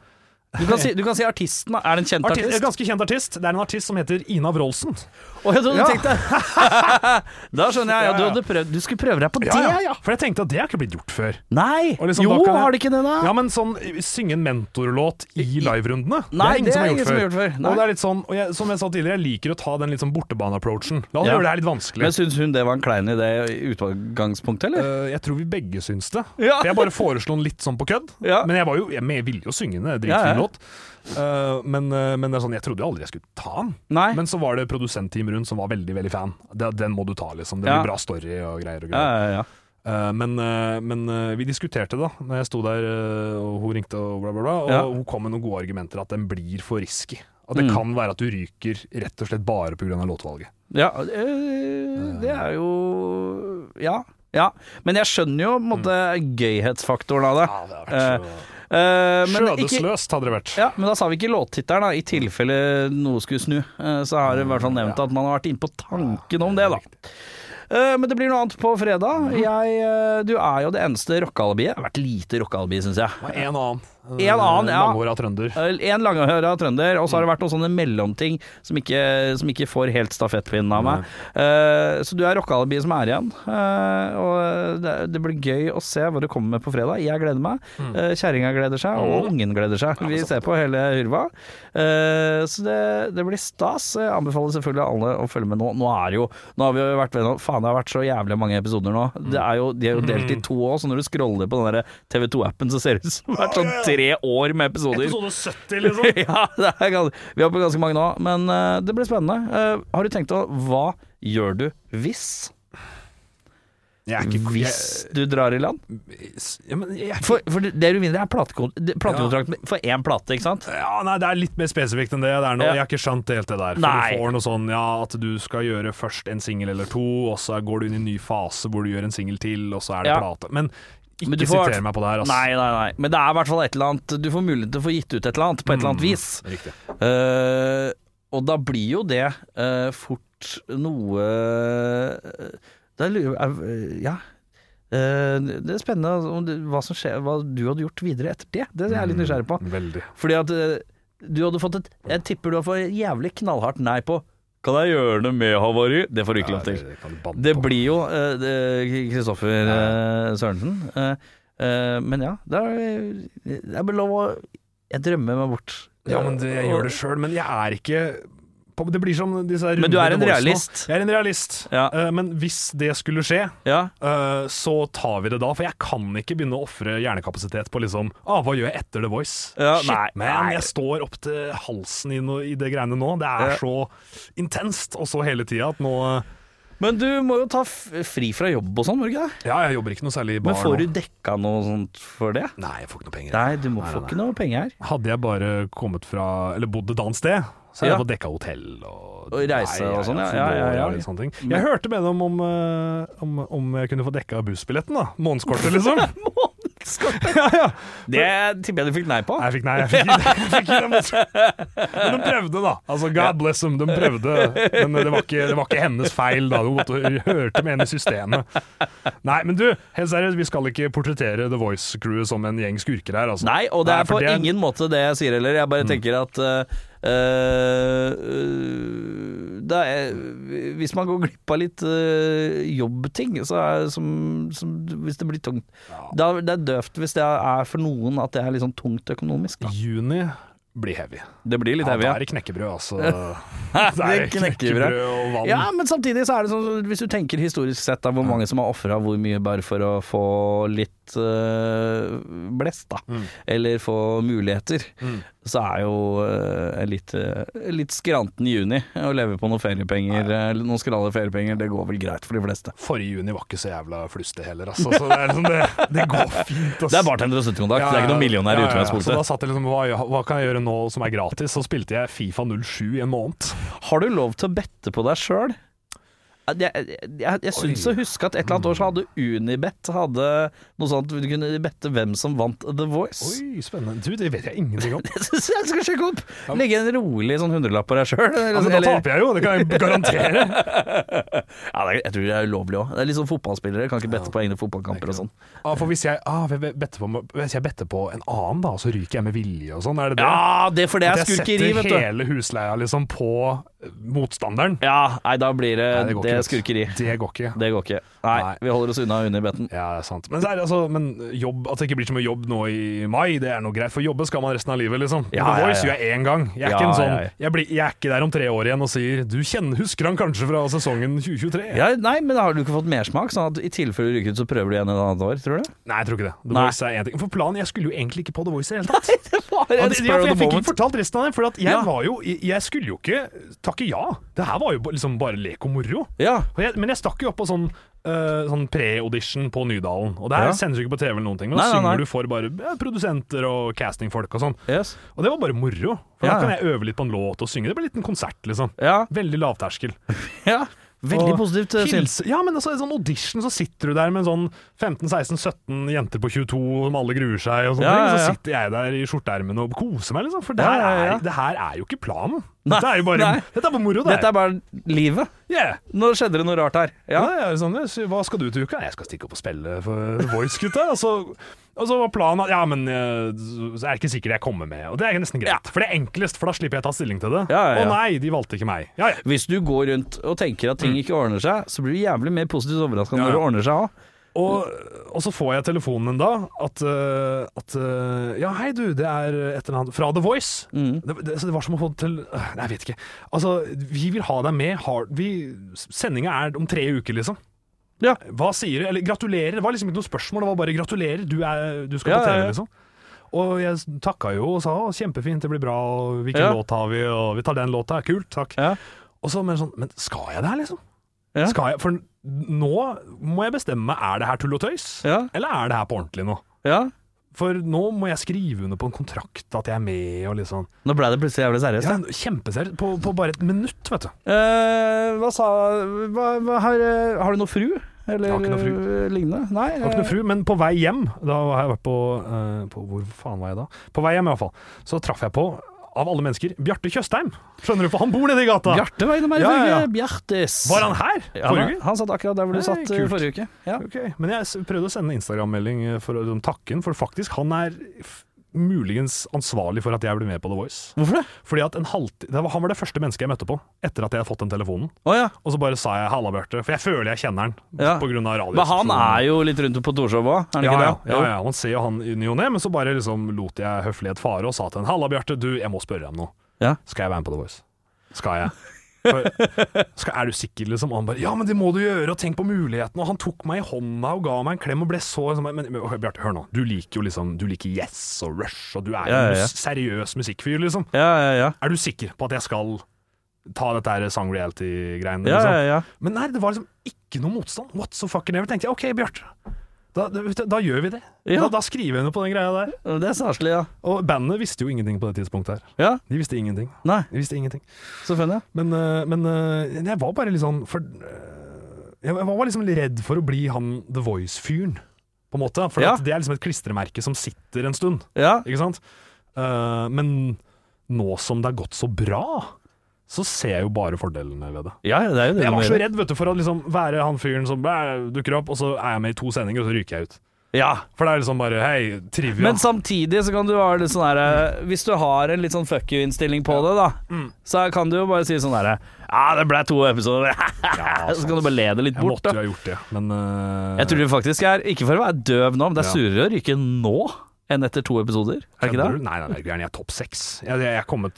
Speaker 2: Du, kan si, du kan si artisten, da. Er det en kjent
Speaker 3: artist,
Speaker 2: artist?
Speaker 3: Ganske kjent artist. Det er en artist som heter Ina Wroldsen.
Speaker 2: Å, jeg trodde du
Speaker 3: Ja.
Speaker 2: tenkte Da skjønner jeg. Ja, du,
Speaker 3: Ja, ja.
Speaker 2: hadde prøvd, du skulle prøve deg på det, ja?
Speaker 3: For jeg tenkte at det har ikke blitt gjort før.
Speaker 2: Nei!
Speaker 3: Og liksom,
Speaker 2: jo,
Speaker 3: da kan jeg-
Speaker 2: har det ikke det, da?
Speaker 3: Ja, men sånn synge en mentorlåt i liverundene,
Speaker 2: Nei, det er ingen som har
Speaker 3: før.
Speaker 2: gjort før, nei.
Speaker 3: Og det er litt sånn, og jeg, som jeg sa tidligere, jeg liker å ta den litt sånn bortebane-approachen. La oss
Speaker 2: Ja.
Speaker 3: gjøre det her litt vanskelig.
Speaker 2: Men syns hun det var en klein idé i utgangspunktet, eller?
Speaker 3: Eh, jeg tror vi begge syns det.
Speaker 2: Ja.
Speaker 3: For jeg bare foreslo den litt sånn på kødd.
Speaker 2: Ja.
Speaker 3: Men jeg, var jo, jeg, men jeg ville jo synge den, det er dritfin
Speaker 2: Ja, ja.
Speaker 3: låt. Eh, men, eh, men det er sånn, jeg trodde jo aldri jeg skulle ta den.
Speaker 2: Nei.
Speaker 3: Men så var det produsentteamet rundt som var veldig veldig fan. Den, den må du ta, liksom. Det
Speaker 2: Ja.
Speaker 3: blir bra story og greier
Speaker 2: ja,
Speaker 3: og greier.
Speaker 2: ja, ja.
Speaker 3: Eh, men eh, men eh, vi diskuterte det, da. Når jeg sto der eh, og hun ringte og bla, bla, bla. Og
Speaker 2: Ja. Mm.
Speaker 3: hun kom med noen gode argumenter at den blir for risky. At det kan være at du ryker rett og slett bare pga. låtvalget.
Speaker 2: Ja, øh, det er jo Ja. ja. Men jeg skjønner jo på en måte gøyhetsfaktoren av det.
Speaker 3: det har
Speaker 2: vært Eh, men, ikke,
Speaker 3: Skjødesløst hadde det vært.
Speaker 2: ja, men da sa vi ikke låttittelen, da. I tilfelle noe skulle snu, eh, så har det i hvert fall nevnt at man har vært inne på tanken om det, da. Eh, men det blir noe annet på fredag. Jeg, eh, du er jo det eneste rockealibiet. Det har vært lite rockealibi, syns jeg.
Speaker 3: Og en annen.
Speaker 2: En annen, ja.
Speaker 3: Manghåra trønder.
Speaker 2: Én langhåra trønder, og så har det vært noen sånne mellomting som ikke, som ikke får helt stafettpinnen av meg. Eh, så du er rockealibiet som er igjen, eh, og det, det blir gøy å se hva du kommer med på fredag. Jeg gleder meg, uh, kjerringa gleder seg, og ungen gleder seg. Vi ser på hele hurva. Eh, så det, det blir stas. Jeg anbefaler selvfølgelig alle å følge med nå. Nå er det jo Nå har vi jo vært ved nå, Faen, det har vært så jævlig mange episoder nå. Det er jo, de er jo delt i to år, så når du scroller på den TV2-appen, så ser det ut som det har vært sånn tre år med episoder
Speaker 3: Episode 70, liksom.
Speaker 2: ja, det er gans- vi har på ganske mange nå, men eh, det blir spennende. Eh, har du tenkt å Hva gjør du hvis?
Speaker 3: Jeg er ikke
Speaker 2: hvis
Speaker 3: jeg,
Speaker 2: du drar i land.
Speaker 3: ja, men jeg, er ikke-
Speaker 2: For, for det du vinner, er plateko- platekontrakt med- for én plate, ikke sant?
Speaker 3: ja, nei, det er litt mer spesifikt enn det det er nå.
Speaker 2: Ja.
Speaker 3: Jeg har ikke skjønt helt det der. For
Speaker 2: Nei.
Speaker 3: Du får noe sånn ja, at du skal gjøre først en singel eller to, og så går du inn i en ny fase hvor du gjør en singel til, og så er det
Speaker 2: Ja.
Speaker 3: plate. Men ikke
Speaker 2: Men du får-
Speaker 3: siter meg på det her, ass.
Speaker 2: Nei, nei, nei. Men det er i hvert fall et eller annet Du får mulighet til å få gitt ut et eller annet på et eller annet vis.
Speaker 3: Mm, Riktig.
Speaker 2: Eh, og da blir jo det eh, fort noe Da lurer jeg- eh, Ja. Eh, det er spennende om det, hva som skjer, hva du hadde gjort videre etter det. Det er jeg litt
Speaker 3: Mm.
Speaker 2: nysgjerrig på.
Speaker 3: Veldig.
Speaker 2: Fordi at eh, du hadde fått et Jeg tipper du hadde fått et jævlig knallhardt nei på Kan jeg gjøre det med havari? Det får du ikke lov til.
Speaker 3: det kan du banne
Speaker 2: Det
Speaker 3: på.
Speaker 2: blir jo eh, det- Kristoffer eh, Sørensen. Eh, eh, men ja, det er, det er bare lov å Jeg drømmer meg bort.
Speaker 3: Ja, men det, jeg gjør det sjøl, men jeg er ikke på- Det blir som disse her
Speaker 2: Men du er
Speaker 3: rundene
Speaker 2: en
Speaker 3: til Voice nå.
Speaker 2: realist.
Speaker 3: Jeg er en realist.
Speaker 2: Ja.
Speaker 3: Eh, men hvis det skulle skje,
Speaker 2: Ja.
Speaker 3: eh, så tar vi det da. For jeg kan ikke begynne å ofre hjernekapasitet på liksom ah, Hva gjør jeg etter The Voice?
Speaker 2: Ja,
Speaker 3: Shit,
Speaker 2: nei,
Speaker 3: man,
Speaker 2: nei.
Speaker 3: jeg står opp til halsen i, noe, i det greiene nå. Det er
Speaker 2: Ja.
Speaker 3: så intenst, og så hele tida at nå eh,
Speaker 2: Men du må jo ta f- fri fra jobb og sånn, må du ikke det?
Speaker 3: Ja, jeg jobber ikke noe særlig i bar
Speaker 2: Men får du
Speaker 3: nå.
Speaker 2: dekka noe sånt for det?
Speaker 3: Nei, jeg får ikke noe penger.
Speaker 2: Nei, du må
Speaker 3: Nei,
Speaker 2: få
Speaker 3: nei,
Speaker 2: ikke noe penger her.
Speaker 3: Hadde jeg bare kommet fra Eller bodd et annet sted, så hadde
Speaker 2: Ja.
Speaker 3: jeg fått dekka hotell og,
Speaker 2: Og reise og sånn, ja.
Speaker 3: for
Speaker 2: Ja, ja,
Speaker 3: vår
Speaker 2: ja.
Speaker 3: og litt sånne ting. Jeg hørte med dem om, eh, om, om jeg kunne få dekka bussbilletten, da. Månedskortet, liksom. ja, ja.
Speaker 2: Det tipper jeg du fikk nei på.
Speaker 3: Nei, jeg fikk nei. Jeg fikk, jeg fikk ikke det. Men de prøvde, da. Altså, God bless them, de prøvde. Men eh, det var ikke, det var ikke hennes feil, da. Hun måtte hørte med henne i systemet. Nei, men du, helt seriøst, vi skal ikke portrettere The Voice-crewet som en gjeng skurker her, altså.
Speaker 2: Nei, og det
Speaker 3: Nei,
Speaker 2: er
Speaker 3: for
Speaker 2: på
Speaker 3: det er- Mm.
Speaker 2: ingen måte det jeg sier heller. Jeg bare tenker at eh, eh, det er, Hvis man går glipp av litt eh, jobbting, så er det som, som Hvis det blir tungt da, Det er døvt hvis det er for noen at det er litt sånn tungt økonomisk. Da.
Speaker 3: Juni blir heavy.
Speaker 2: Det blir litt heavy.
Speaker 3: Ja, da er det knekkebrød, altså. Det er knekkebrød og vann.
Speaker 2: Ja, men samtidig så er det sånn Hvis du tenker historisk sett da, hvor mange som har ofra hvor mye bare for å få litt øh, blest, da. Eller få muligheter. Så er jo øh, en litt, øh, litt skranten juni å leve på noen feriepenger, eh, eller noen skrale feriepenger. Det går vel greit for de fleste.
Speaker 3: Forrige juni var ikke så jævla fluste heller, altså. Så det, er liksom det, det går fint. ass.
Speaker 2: Det er bartender og støttekontakt, det er ikke noen millionær i
Speaker 3: Så da
Speaker 2: utgangspunktet.
Speaker 3: satt jeg liksom hva, hva kan jeg gjøre nå som er gratis? Så spilte jeg Fifa 07 i en måned.
Speaker 2: Har du lov til å bette på deg sjøl? Jeg, jeg, jeg, jeg syns å huske at et eller annet år så hadde Unibet hadde noe sånt Du kunne bette hvem som vant The Voice.
Speaker 3: Oi, spennende. Du, det vet jeg ingenting om.
Speaker 2: Det syns jeg du skal sjekke opp. Legge en rolig sånn hundrelapp på deg sjøl.
Speaker 3: Ja, men Altså, da taper jeg jo, det kan jeg garantere.
Speaker 2: Ja, det er- jeg tror det er ulovlig òg. Det er litt sånn fotballspillere kan ikke bette på egne fotballkamper og sånn.
Speaker 3: Ah, for hvis jeg, ah, jeg better på, hvis jeg better på en annen, da, så ryker jeg med vilje og sånn? Er det det?
Speaker 2: Ja, det er for det
Speaker 3: At
Speaker 2: er skurkeri, vet
Speaker 3: setter
Speaker 2: du.
Speaker 3: hele husleia liksom på eh, motstanderen?
Speaker 2: Ja, nei, da blir det,
Speaker 3: Nei,
Speaker 2: det,
Speaker 3: går
Speaker 2: er
Speaker 3: ikke, vet du.
Speaker 2: skurkeri.
Speaker 3: Det går ikke.
Speaker 2: Det går ikke. Nei,
Speaker 3: Nei.
Speaker 2: vi holder oss unna Unibeten.
Speaker 3: Ja, det er sant. Men, så er det altså, men jobb, at det ikke blir så mye jobb nå i mai, det er noe greit. For jobbe skal man resten av livet, liksom.
Speaker 2: Ja,
Speaker 3: The
Speaker 2: ja,
Speaker 3: Voice
Speaker 2: ja.
Speaker 3: gjør jeg én gang. Jeg er,
Speaker 2: Ja,
Speaker 3: ikke en sånn,
Speaker 2: ja, ja.
Speaker 3: Jeg, blir, jeg er ikke der om tre år igjen og sier Du kjenner, husker han kanskje fra sesongen 2023?
Speaker 2: Ja, nei, men har du ikke fått mersmak? Sånn at i tilfelle du ryker ut, så prøver du igjen et annet år, tror du?
Speaker 3: Nei, jeg tror ikke det. The
Speaker 2: Nei.
Speaker 3: Voice er en ting. For planen, Jeg skulle jo egentlig ikke på The Voice i det hele tatt.
Speaker 2: Det var
Speaker 3: Ja,
Speaker 2: en
Speaker 3: det, ja,
Speaker 2: spur
Speaker 3: for
Speaker 2: of the
Speaker 3: jeg fikk
Speaker 2: moment.
Speaker 3: ikke fortalt resten av det, for at jeg
Speaker 2: Ja.
Speaker 3: var jo jeg, jeg skulle jo ikke takke ja. Det her var jo ba- liksom bare lek og moro.
Speaker 2: Ja.
Speaker 3: Og jeg, men jeg stakk jo opp på sånn, eh, sånn pre-audition på Nydalen. Og det her
Speaker 2: Ja.
Speaker 3: sendes jo ikke på TV eller noen ting, men
Speaker 2: Nei,
Speaker 3: da
Speaker 2: nei, nei.
Speaker 3: synger du for bare ja, produsenter og castingfolk og sånn.
Speaker 2: Yes.
Speaker 3: Og det var bare moro. For
Speaker 2: Ja.
Speaker 3: da kan jeg øve litt på en låt og synge. Det blir en liten konsert, liksom.
Speaker 2: Ja.
Speaker 3: Veldig lavterskel.
Speaker 2: ja. Veldig
Speaker 3: Og
Speaker 2: positivt eh, syn.
Speaker 3: hilse- Ja, men altså, i sånn audition så sitter du der med en sånn 15-16-17 jenter på 22 som alle gruer seg og sånne
Speaker 2: Ja,
Speaker 3: ting.
Speaker 2: ja,
Speaker 3: Så
Speaker 2: ja.
Speaker 3: sitter jeg der i skjorteermene og koser meg, liksom. For det
Speaker 2: Ja,
Speaker 3: her,
Speaker 2: ja, ja.
Speaker 3: Er, det her er jo ikke planen.
Speaker 2: Nei,
Speaker 3: dette er jo bare,
Speaker 2: nei.
Speaker 3: dette er bare moro, det
Speaker 2: Dette
Speaker 3: her.
Speaker 2: er bare livet.
Speaker 3: Yeah.
Speaker 2: Nå skjedde det noe rart her.
Speaker 3: Ja.
Speaker 2: Ja.
Speaker 3: jeg er sånn, jeg sier, hva skal du til uka? Jeg skal stikke opp og spille for Voice, gutta. Og så, og så var planen at ja, men eh, så er det ikke sikkert jeg kommer med. Og det er nesten greit,
Speaker 2: Ja.
Speaker 3: for det er enklest, for da slipper jeg ta stilling til det.
Speaker 2: Ja, ja, ja.
Speaker 3: Å nei, de valgte ikke meg. Ja, ja.
Speaker 2: Hvis du går rundt og tenker at ting ikke ordner seg, så blir du jævlig mer positivt overraska når
Speaker 3: Ja, Mm. ja.
Speaker 2: det ordner seg òg.
Speaker 3: Og, og så får jeg telefonen en dag at, eh, at eh, Ja, hei du, det er et eller annet fra The Voice.
Speaker 2: Mm.
Speaker 3: Det, det, så det var som å få til øh, Nei, jeg vet ikke. Altså, vi vil ha deg med. Har, vi, sendinga er om tre uker, liksom.
Speaker 2: Ja.
Speaker 3: Hva sier du? Eller gratulerer. Det var liksom ikke noe spørsmål, det var bare gratulerer. Du, er, du skal
Speaker 2: Ja,
Speaker 3: på TV,
Speaker 2: ja, ja.
Speaker 3: liksom. Og jeg takka jo og sa å, kjempefint, det blir bra, og hvilken
Speaker 2: Ja.
Speaker 3: låt har vi, og vi tar den låta, kult, takk.
Speaker 2: Ja.
Speaker 3: Og så men sånn, men skal jeg det her, liksom?
Speaker 2: Ja.
Speaker 3: Skal jeg, for nå må jeg bestemme meg, er det her tull og tøys,
Speaker 2: Ja.
Speaker 3: eller er det her på ordentlig nå?
Speaker 2: Ja.
Speaker 3: For nå må jeg skrive under på en kontrakt at jeg er med, og litt sånn.
Speaker 2: Nå ble det plutselig jævlig seriøst.
Speaker 3: Ja, Kjempeseriøst. På, på bare et minutt, vet du.
Speaker 2: Eh, hva sa hva, hva, har, eh, har du noe fru? Eller
Speaker 3: Jeg har ikke noe fru.
Speaker 2: eh, lignende? Nei.
Speaker 3: Jeg var ikke
Speaker 2: eh,
Speaker 3: noe fru, men på vei hjem Da har jeg vært på, eh, på Hvor faen var jeg da? På vei hjem i hvert fall Så traff jeg på, av alle mennesker, Bjarte Tjøstheim Skjønner du, for han bor nede i gata
Speaker 2: Bjarte var innom her i
Speaker 3: Ja,
Speaker 2: forrige
Speaker 3: ja,
Speaker 2: uke.
Speaker 3: ja.
Speaker 2: Bjartes.
Speaker 3: Var han her?
Speaker 2: Ja,
Speaker 3: forrige
Speaker 2: han,
Speaker 3: uke?
Speaker 2: han satt akkurat der hvor du
Speaker 3: Nei,
Speaker 2: satt eh,
Speaker 3: kult.
Speaker 2: forrige uke. Ja.
Speaker 3: Ok, men jeg s- prøvde å sende en Instagram-melding eh, For å liksom takke han, for faktisk Han er f- muligens ansvarlig for at jeg ble med på The Voice
Speaker 2: Hvorfor det?
Speaker 3: Fordi at en halvtid Han var det første mennesket jeg møtte på Etter at jeg hadde fått den telefonen
Speaker 2: Å ja.
Speaker 3: Og så bare sa jeg, halla Bjarte For jeg føler jeg kjenner han
Speaker 2: Ja.
Speaker 3: På grunn av radio
Speaker 2: Men han er jo litt rundt på Torshov òg, er han
Speaker 3: ja,
Speaker 2: ikke
Speaker 3: ja,
Speaker 2: det?
Speaker 3: ja, ja, man ser jo han i ny og ne, men så bare liksom lot jeg høflighet fare og sa til han Halla, Bjarte, du, jeg må spørre deg om noe.
Speaker 2: Ja.
Speaker 3: Skal jeg være med på The Voice? Skal jeg? For, skal, er du sikker, liksom? Og han bare Ja, men det må du gjøre, og tenk på muligheten. Og han tok meg i hånda og ga meg en klem og ble så liksom, Men, men hør, Bjarte, hør nå. Du liker jo liksom Du liker Yes og Rush, og du er jo
Speaker 2: Ja, ja, ja.
Speaker 3: en mus- seriøs musikkfyr, liksom.
Speaker 2: Ja, ja, ja.
Speaker 3: Er du sikker på at jeg skal ta dette her sang reality-greiene?
Speaker 2: Ja,
Speaker 3: liksom?
Speaker 2: ja, ja.
Speaker 3: Men nei, det var liksom ikke noe motstand. What so fucking ever, tenkte jeg. Ok, Bjarte. Da, da, vet du, da gjør vi det.
Speaker 2: Ja.
Speaker 3: Da, da skriver vi under på den greia der.
Speaker 2: Det er staselig, ja.
Speaker 3: Og bandet visste jo ingenting på det tidspunktet her.
Speaker 2: Ja,
Speaker 3: De visste ingenting.
Speaker 2: Nei,
Speaker 3: De visste ingenting.
Speaker 2: selvfølgelig.
Speaker 3: Men, øh, men øh, jeg var bare litt sånn for, øh, Jeg jeg var liksom litt redd for å bli han The Voice-fyren, på en måte. For
Speaker 2: Ja.
Speaker 3: at det er liksom et klistremerke som sitter en stund,
Speaker 2: Ja.
Speaker 3: ikke sant? Eh, men nå som det har gått så bra, så ser jeg jo bare fordelene ved det.
Speaker 2: ja, ja, det er jo det.
Speaker 3: Jeg
Speaker 2: du må
Speaker 3: var så
Speaker 2: gjøre.
Speaker 3: redd vet du, for å liksom være han fyren som bæ, dukker opp, og så er jeg med i to sendinger, og så ryker jeg ut.
Speaker 2: Ja.
Speaker 3: For det er liksom bare Hei, trivia.
Speaker 2: Men samtidig så kan du være litt sånn herre Hvis du har en litt sånn fuck you-innstilling på det, da,
Speaker 3: Mm.
Speaker 2: så kan du jo bare si sånn herre Ja, det ble to episoder,
Speaker 3: Ja, altså.
Speaker 2: så kan du bare le det litt
Speaker 3: jeg
Speaker 2: bort,
Speaker 3: måtte jo
Speaker 2: da.
Speaker 3: ha gjort det, men eh,
Speaker 2: Jeg tror det faktisk er Ikke for å være døv nå, men det er
Speaker 3: Ja.
Speaker 2: surere å ryke nå enn etter to episoder, er det ikke
Speaker 3: kjenner
Speaker 2: det?
Speaker 3: du- Nei, nei, nei, gæren, jeg er topp seks. Jeg, jeg, jeg er kommet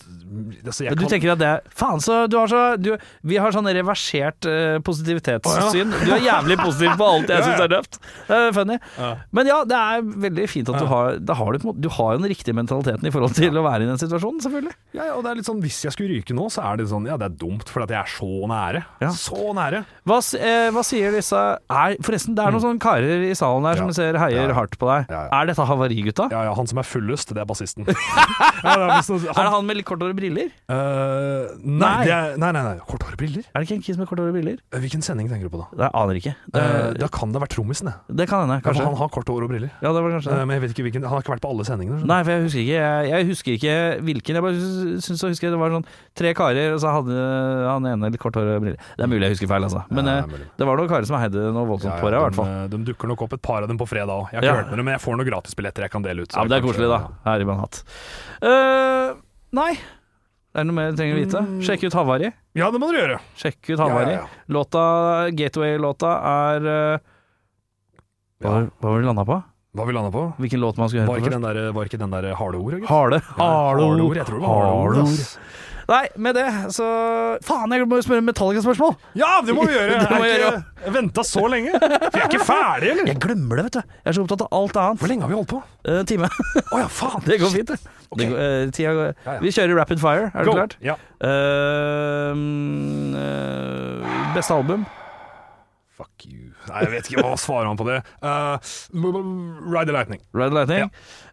Speaker 3: altså, jeg
Speaker 2: Men Du
Speaker 3: kan,
Speaker 2: tenker at det er Faen, så du har så du, Vi har sånn reversert eh, positivitetssyn. Du er jævlig positiv på alt jeg syns er døvt. Det er funny.
Speaker 3: Ja.
Speaker 2: Men ja, det er veldig fint at du har Da har du på en måte Du har jo den riktige mentaliteten i forhold til å være i den situasjonen, selvfølgelig.
Speaker 3: ja, ja, og det er litt sånn, Hvis jeg skulle ryke nå, så er det sånn Ja, det er dumt, for at jeg er så nære.
Speaker 2: Ja.
Speaker 3: Så nære.
Speaker 2: Hva, s- eh, hva sier disse er, Forresten, det er noen sånne karer i salen her
Speaker 3: Mm. Ja.
Speaker 2: som ser heier
Speaker 3: Ja.
Speaker 2: hardt på deg.
Speaker 3: Ja, ja.
Speaker 2: Er dette havarigutta?
Speaker 3: Ja, ja, Han som er fullest, det er bassisten. ja, det er visst
Speaker 2: Er
Speaker 3: noe-
Speaker 2: det
Speaker 3: han,
Speaker 2: han med litt kortere briller?
Speaker 3: Eh, nei,
Speaker 2: Nei.
Speaker 3: det er, nei, nei, nei. Korthårede briller?
Speaker 2: Er det ikke en kis med kortere briller?
Speaker 3: Eh, Hvilken sending tenker du på da?
Speaker 2: Det aner jeg ikke. Det,
Speaker 3: Eh, da kan det ha vært trommisen, det.
Speaker 2: det kan hende,
Speaker 3: Kanskje
Speaker 2: kanskje.
Speaker 3: han har kort hår og briller.
Speaker 2: Ja, det var kanskje det.
Speaker 3: Eh, Men jeg vet ikke hvilken Han har ikke vært på alle sendingene. skjønner
Speaker 2: Nei, for jeg husker ikke Jeg, jeg husker ikke hvilken. Jeg bare sy- syns å huske det var sånn tre karer, og så hadde han ene litt kort hår og briller. Det er mulig jeg husker feil, altså.
Speaker 3: du.
Speaker 2: Men
Speaker 3: Ja,
Speaker 2: eh,
Speaker 3: det er mulig.
Speaker 2: det var noen karer som heide noe voldsomt
Speaker 3: Ja, ja,
Speaker 2: på deg, Sånn i hvert
Speaker 3: de,
Speaker 2: fall.
Speaker 3: eh, De dukker nok opp et par av dem på fredag òg. Jeg har ikke
Speaker 2: Ja.
Speaker 3: hørt med dem, men jeg får noen gratisbilletter jeg kan dele ut. så
Speaker 2: Ja, men det er
Speaker 3: kanskje-
Speaker 2: koselig, da. Her i Manhattat. Eh, nei. Er det noe mer du trenger å vite?
Speaker 3: Mm.
Speaker 2: Sjekk ut Havari.
Speaker 3: Ja, det må dere gjøre.
Speaker 2: Sjekk ut
Speaker 3: Ja,
Speaker 2: Havari.
Speaker 3: ja, ja.
Speaker 2: Låta, Gateway-låta er eh, hva,
Speaker 3: Ja.
Speaker 2: hva var det vi landa på?
Speaker 3: Hva vi landa på?
Speaker 2: Hvilken låt man skulle
Speaker 3: Var
Speaker 2: høre på
Speaker 3: ikke
Speaker 2: først?
Speaker 3: den der, var ikke den der harde ord? gutt?
Speaker 2: Harde. Harde
Speaker 3: harde
Speaker 2: ord.
Speaker 3: ord. Jeg tror det var harde ord,
Speaker 2: Harde
Speaker 3: ass.
Speaker 2: Nei, med det så Faen, jeg må jo spørre Metallica-spørsmål!
Speaker 3: Ja, det må vi gjøre!
Speaker 2: Det må vi
Speaker 3: jeg har
Speaker 2: gjøre.
Speaker 3: ikke venta så lenge. Vi er ikke ferdige, eller?
Speaker 2: Jeg glemmer det, vet du. Jeg er så opptatt av alt
Speaker 3: Hvor
Speaker 2: annet.
Speaker 3: lenge har vi holdt på?
Speaker 2: Eh, time.
Speaker 3: Å ja, faen!
Speaker 2: Det går fint, det.
Speaker 3: Ok.
Speaker 2: det går, eh, tida går.
Speaker 3: Ja, ja.
Speaker 2: Vi kjører rapid fire, er det
Speaker 3: Go.
Speaker 2: klart?
Speaker 3: Ja.
Speaker 2: Eh, mm, eh, beste album?
Speaker 3: Fuck you. Nei, jeg vet ikke hva svarer han på det. Eh, Ride the Lightning.
Speaker 2: Ride the Lightning.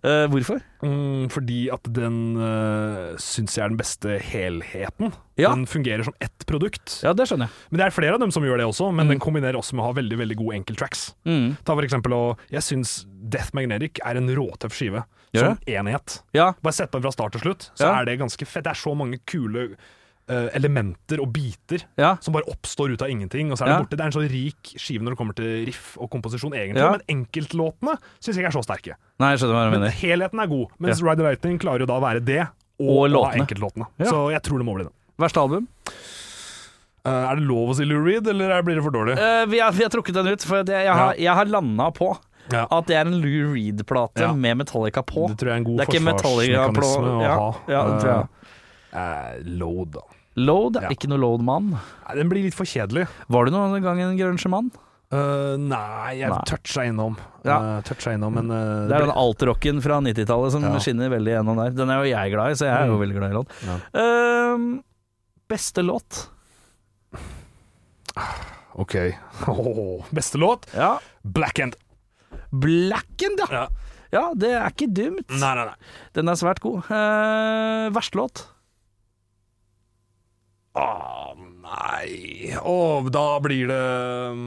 Speaker 2: Eh, hvorfor?
Speaker 3: Mm, fordi at den uh, syns jeg er den beste helheten.
Speaker 2: Ja.
Speaker 3: Den fungerer som ett produkt.
Speaker 2: Ja, det skjønner jeg.
Speaker 3: Men det er flere av dem som gjør det også, men den kombinerer også med å ha veldig veldig gode enkelttracks.
Speaker 2: Mm.
Speaker 3: Ta for eksempel, og jeg syns Death Magnetic er en råtøff skive.
Speaker 2: Gjør
Speaker 3: Som enhet.
Speaker 2: Ja,
Speaker 3: Bare sett på den fra start til slutt, så
Speaker 2: Ja.
Speaker 3: er det ganske fett. Det er så mange kule eh, elementer og biter
Speaker 2: ja.
Speaker 3: som bare oppstår ut av ingenting, og så er det
Speaker 2: Ja.
Speaker 3: borte. Det er en så rik skive når det kommer til riff og komposisjon, egentlig.
Speaker 2: Ja.
Speaker 3: Men enkeltlåtene syns jeg ikke er så sterke.
Speaker 2: Nei, jeg skjønner hva du
Speaker 3: Men
Speaker 2: mener.
Speaker 3: helheten er god, mens Ride the Lightning klarer jo da å være det, og,
Speaker 2: Og
Speaker 3: å ha
Speaker 2: låtene.
Speaker 3: enkeltlåtene.
Speaker 2: Ja.
Speaker 3: Så jeg tror det må bli det.
Speaker 2: Verste album?
Speaker 3: Eh, er det lov å si Lou Reed, eller er- blir det for dårlig?
Speaker 2: Eh, vi, har, vi har trukket den ut, for det, jeg har, jeg har landa på
Speaker 3: Ja.
Speaker 2: at det er en Lou Reed-plate
Speaker 3: Ja.
Speaker 2: med Metallica på.
Speaker 3: Det tror jeg er en god
Speaker 2: Det er ikke Metallica-plå-
Speaker 3: forsvarsmekanisme å
Speaker 2: ja,
Speaker 3: ha.
Speaker 2: ja, det tror jeg.
Speaker 3: Eh, eh, load, da.
Speaker 2: Load?
Speaker 3: Ja.
Speaker 2: Ikke noe Load-mann.
Speaker 3: Nei, den blir litt for kjedelig.
Speaker 2: Var du noen gang en grunge-mann?
Speaker 3: Eh, nei, jeg
Speaker 2: Nei.
Speaker 3: toucha innom.
Speaker 2: Ja.
Speaker 3: Eh, toucha innom, men eh,
Speaker 2: Det er
Speaker 3: ble-
Speaker 2: den alt-rocken fra 90-tallet som
Speaker 3: Ja. Mm.
Speaker 2: skinner veldig gjennom der. Den er jo jeg glad i, så jeg er jo veldig glad i låt.
Speaker 3: Ja.
Speaker 2: Ehm, beste låt?
Speaker 3: OK. Åh, beste låt?
Speaker 2: Ja.
Speaker 3: Black End.
Speaker 2: Blacken, ja.
Speaker 3: Ja.
Speaker 2: ja! Det er ikke dumt.
Speaker 3: Nei, nei, nei.
Speaker 2: Den er svært god. Uh, Verstelåt?
Speaker 3: Å, nei Å, da blir det mm,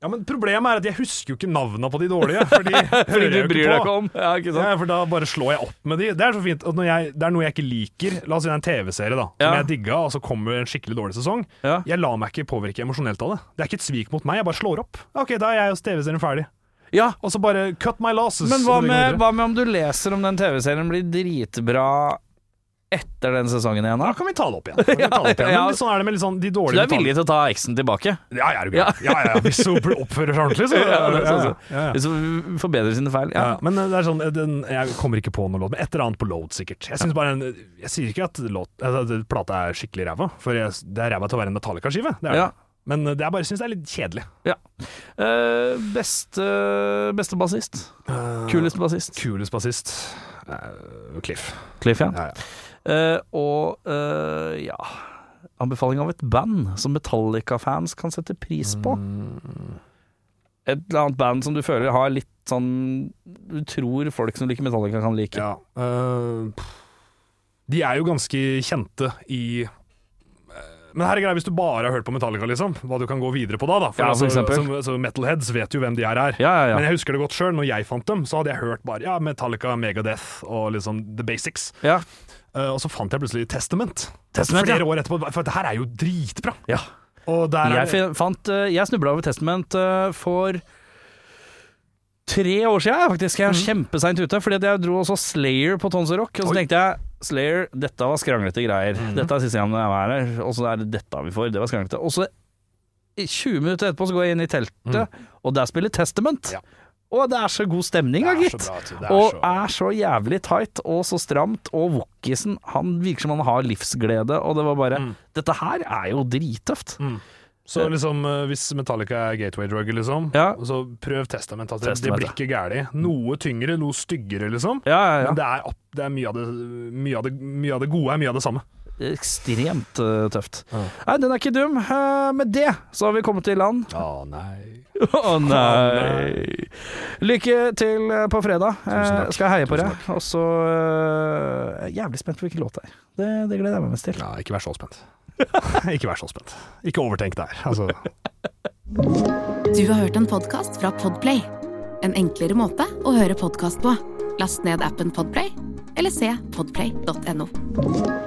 Speaker 3: Ja, men problemet er at jeg husker jo ikke navna på de dårlige. Fordi,
Speaker 2: Fordi
Speaker 3: hører
Speaker 2: du
Speaker 3: jeg jo
Speaker 2: bryr
Speaker 3: ikke
Speaker 2: deg
Speaker 3: på.
Speaker 2: ikke om. Ja, ikke sant?
Speaker 3: Ja, for da bare slår jeg opp med de. Det er så fint at når jeg, det er noe jeg ikke liker. La oss si det er en TV-serie da som
Speaker 2: Ja.
Speaker 3: jeg digga, og så kommer en skikkelig dårlig sesong.
Speaker 2: Ja.
Speaker 3: Jeg lar meg ikke påvirke emosjonelt av det. Det er ikke et svik mot meg, jeg bare slår opp. Ok, da er jeg hos TV-serien ferdig.
Speaker 2: Ja,
Speaker 3: Og så bare cut my losses.
Speaker 2: Men hva
Speaker 3: og det går
Speaker 2: med,
Speaker 3: videre.
Speaker 2: hva med om du leser om den TV-serien blir dritbra etter den sesongen igjen?
Speaker 3: Da
Speaker 2: da?
Speaker 3: kan vi ta det opp igjen. Da Kan vi ta det opp igjen.
Speaker 2: Ja.
Speaker 3: Men litt sånn er det med litt sånn de
Speaker 2: Du
Speaker 3: dårlige
Speaker 2: er villig til å ta eksen tilbake?
Speaker 3: betal- Ja, jeg er jo gæren. Ja, ja, ja. Hvis hun oppfører seg ordentlig, så
Speaker 2: Ja, det er sånn som-
Speaker 3: ja, ja.
Speaker 2: Hvis du forbedrer sine feil?
Speaker 3: Ja.
Speaker 2: Ja.
Speaker 3: men det er sånn den, Jeg kommer ikke på noe låt, men et eller annet på load, sikkert. Jeg, synes bare en, jeg sier ikke at, låt, at plata er skikkelig ræva, for jeg, det er ræva til å være en Metallica-skive. Det er det.
Speaker 2: Ja.
Speaker 3: Men eh, det jeg bare syns det er litt kjedelig.
Speaker 2: Eh, beste, beste bassist? Kuleste bassist?
Speaker 3: Kulest Eh, bassist eh, Cliff.
Speaker 2: Cliff, ja.
Speaker 3: Ja, ja.
Speaker 2: Eh, og eh, ja Anbefaling av et band som Metallica-fans kan sette pris på.
Speaker 3: Mm.
Speaker 2: Et eller annet band som du føler har litt sånn Du tror folk som liker Metallica, kan like.
Speaker 3: Ja, eh, pff. de er jo ganske kjente i eh, men her er greia hvis du bare har hørt på Metallica, liksom. Hva du kan gå videre på da. da.
Speaker 2: Ja, for
Speaker 3: altså,
Speaker 2: eksempel.
Speaker 3: som, altså, metalheads vet jo hvem de her er.
Speaker 2: Ja, ja, ja.
Speaker 3: Men jeg husker det godt sjøl. Når jeg fant dem, så hadde jeg hørt bare ja, Metallica, Megadeth og liksom The Basics.
Speaker 2: Ja.
Speaker 3: Eh, og så fant jeg plutselig Testament.
Speaker 2: Testament, ja.
Speaker 3: Flere år etterpå. For det her er jo dritbra.
Speaker 2: ja.
Speaker 3: Og der
Speaker 2: Jeg,
Speaker 3: er
Speaker 2: fin- fant, eh, jeg snubla over Testament eh, for tre år siden, faktisk. Jeg er kjempeseint ute, fordi at jeg dro og så Slayer på Tons of Rock. Og så
Speaker 3: Mhm. Oi. Mhm.
Speaker 2: tenkte jeg Slayer, dette var skranglete greier. Dette er siste gang jeg er her, og så er det dette vi får. Det var skranglete. Og så i 20 minutter etterpå så går jeg inn i teltet, og der spiller Testament.
Speaker 3: Mhm. Ja.
Speaker 2: Og det er så god stemning, da,
Speaker 3: Det er så
Speaker 2: gitt.
Speaker 3: bra, altså. Det er
Speaker 2: Og
Speaker 3: så-
Speaker 2: er så jævlig tight og så stramt. Og wokisen, han virker som han har livsglede, og det var bare
Speaker 3: Mhm.
Speaker 2: Dette her er jo drittøft.
Speaker 3: Mm. Så liksom, eh, hvis Metallica er gateway drug, liksom,
Speaker 2: Ja.
Speaker 3: så prøv Testament. Altså, det-
Speaker 2: Testament,
Speaker 3: Det blir ikke gærent. Noe tyngre, noe styggere, liksom.
Speaker 2: Ja, ja, ja.
Speaker 3: Men det er, opp, det er mye, av det, mye, av det, mye av det gode er mye av det samme.
Speaker 2: Ekstremt eh, tøft. Nei, den er ikke dum. Eh, med det så har vi kommet i land.
Speaker 3: Å nei.
Speaker 2: Å nei! Lykke til eh, på fredag.
Speaker 3: Tusen
Speaker 2: Eh,
Speaker 3: takk.
Speaker 2: skal jeg heie på
Speaker 3: Tusen
Speaker 2: deg. Og så eh, jeg er Jævlig spent på hvilken låt det er. Det, det gleder jeg meg mest til.
Speaker 3: Ja, ikke vær så spent. ikke vær så spent. Ikke overtenk det her. Altså.
Speaker 1: Du har hørt en podcast fra Podplay. En enklere måte å høre podcast på. Last ned appen Podplay, eller se podplay.no.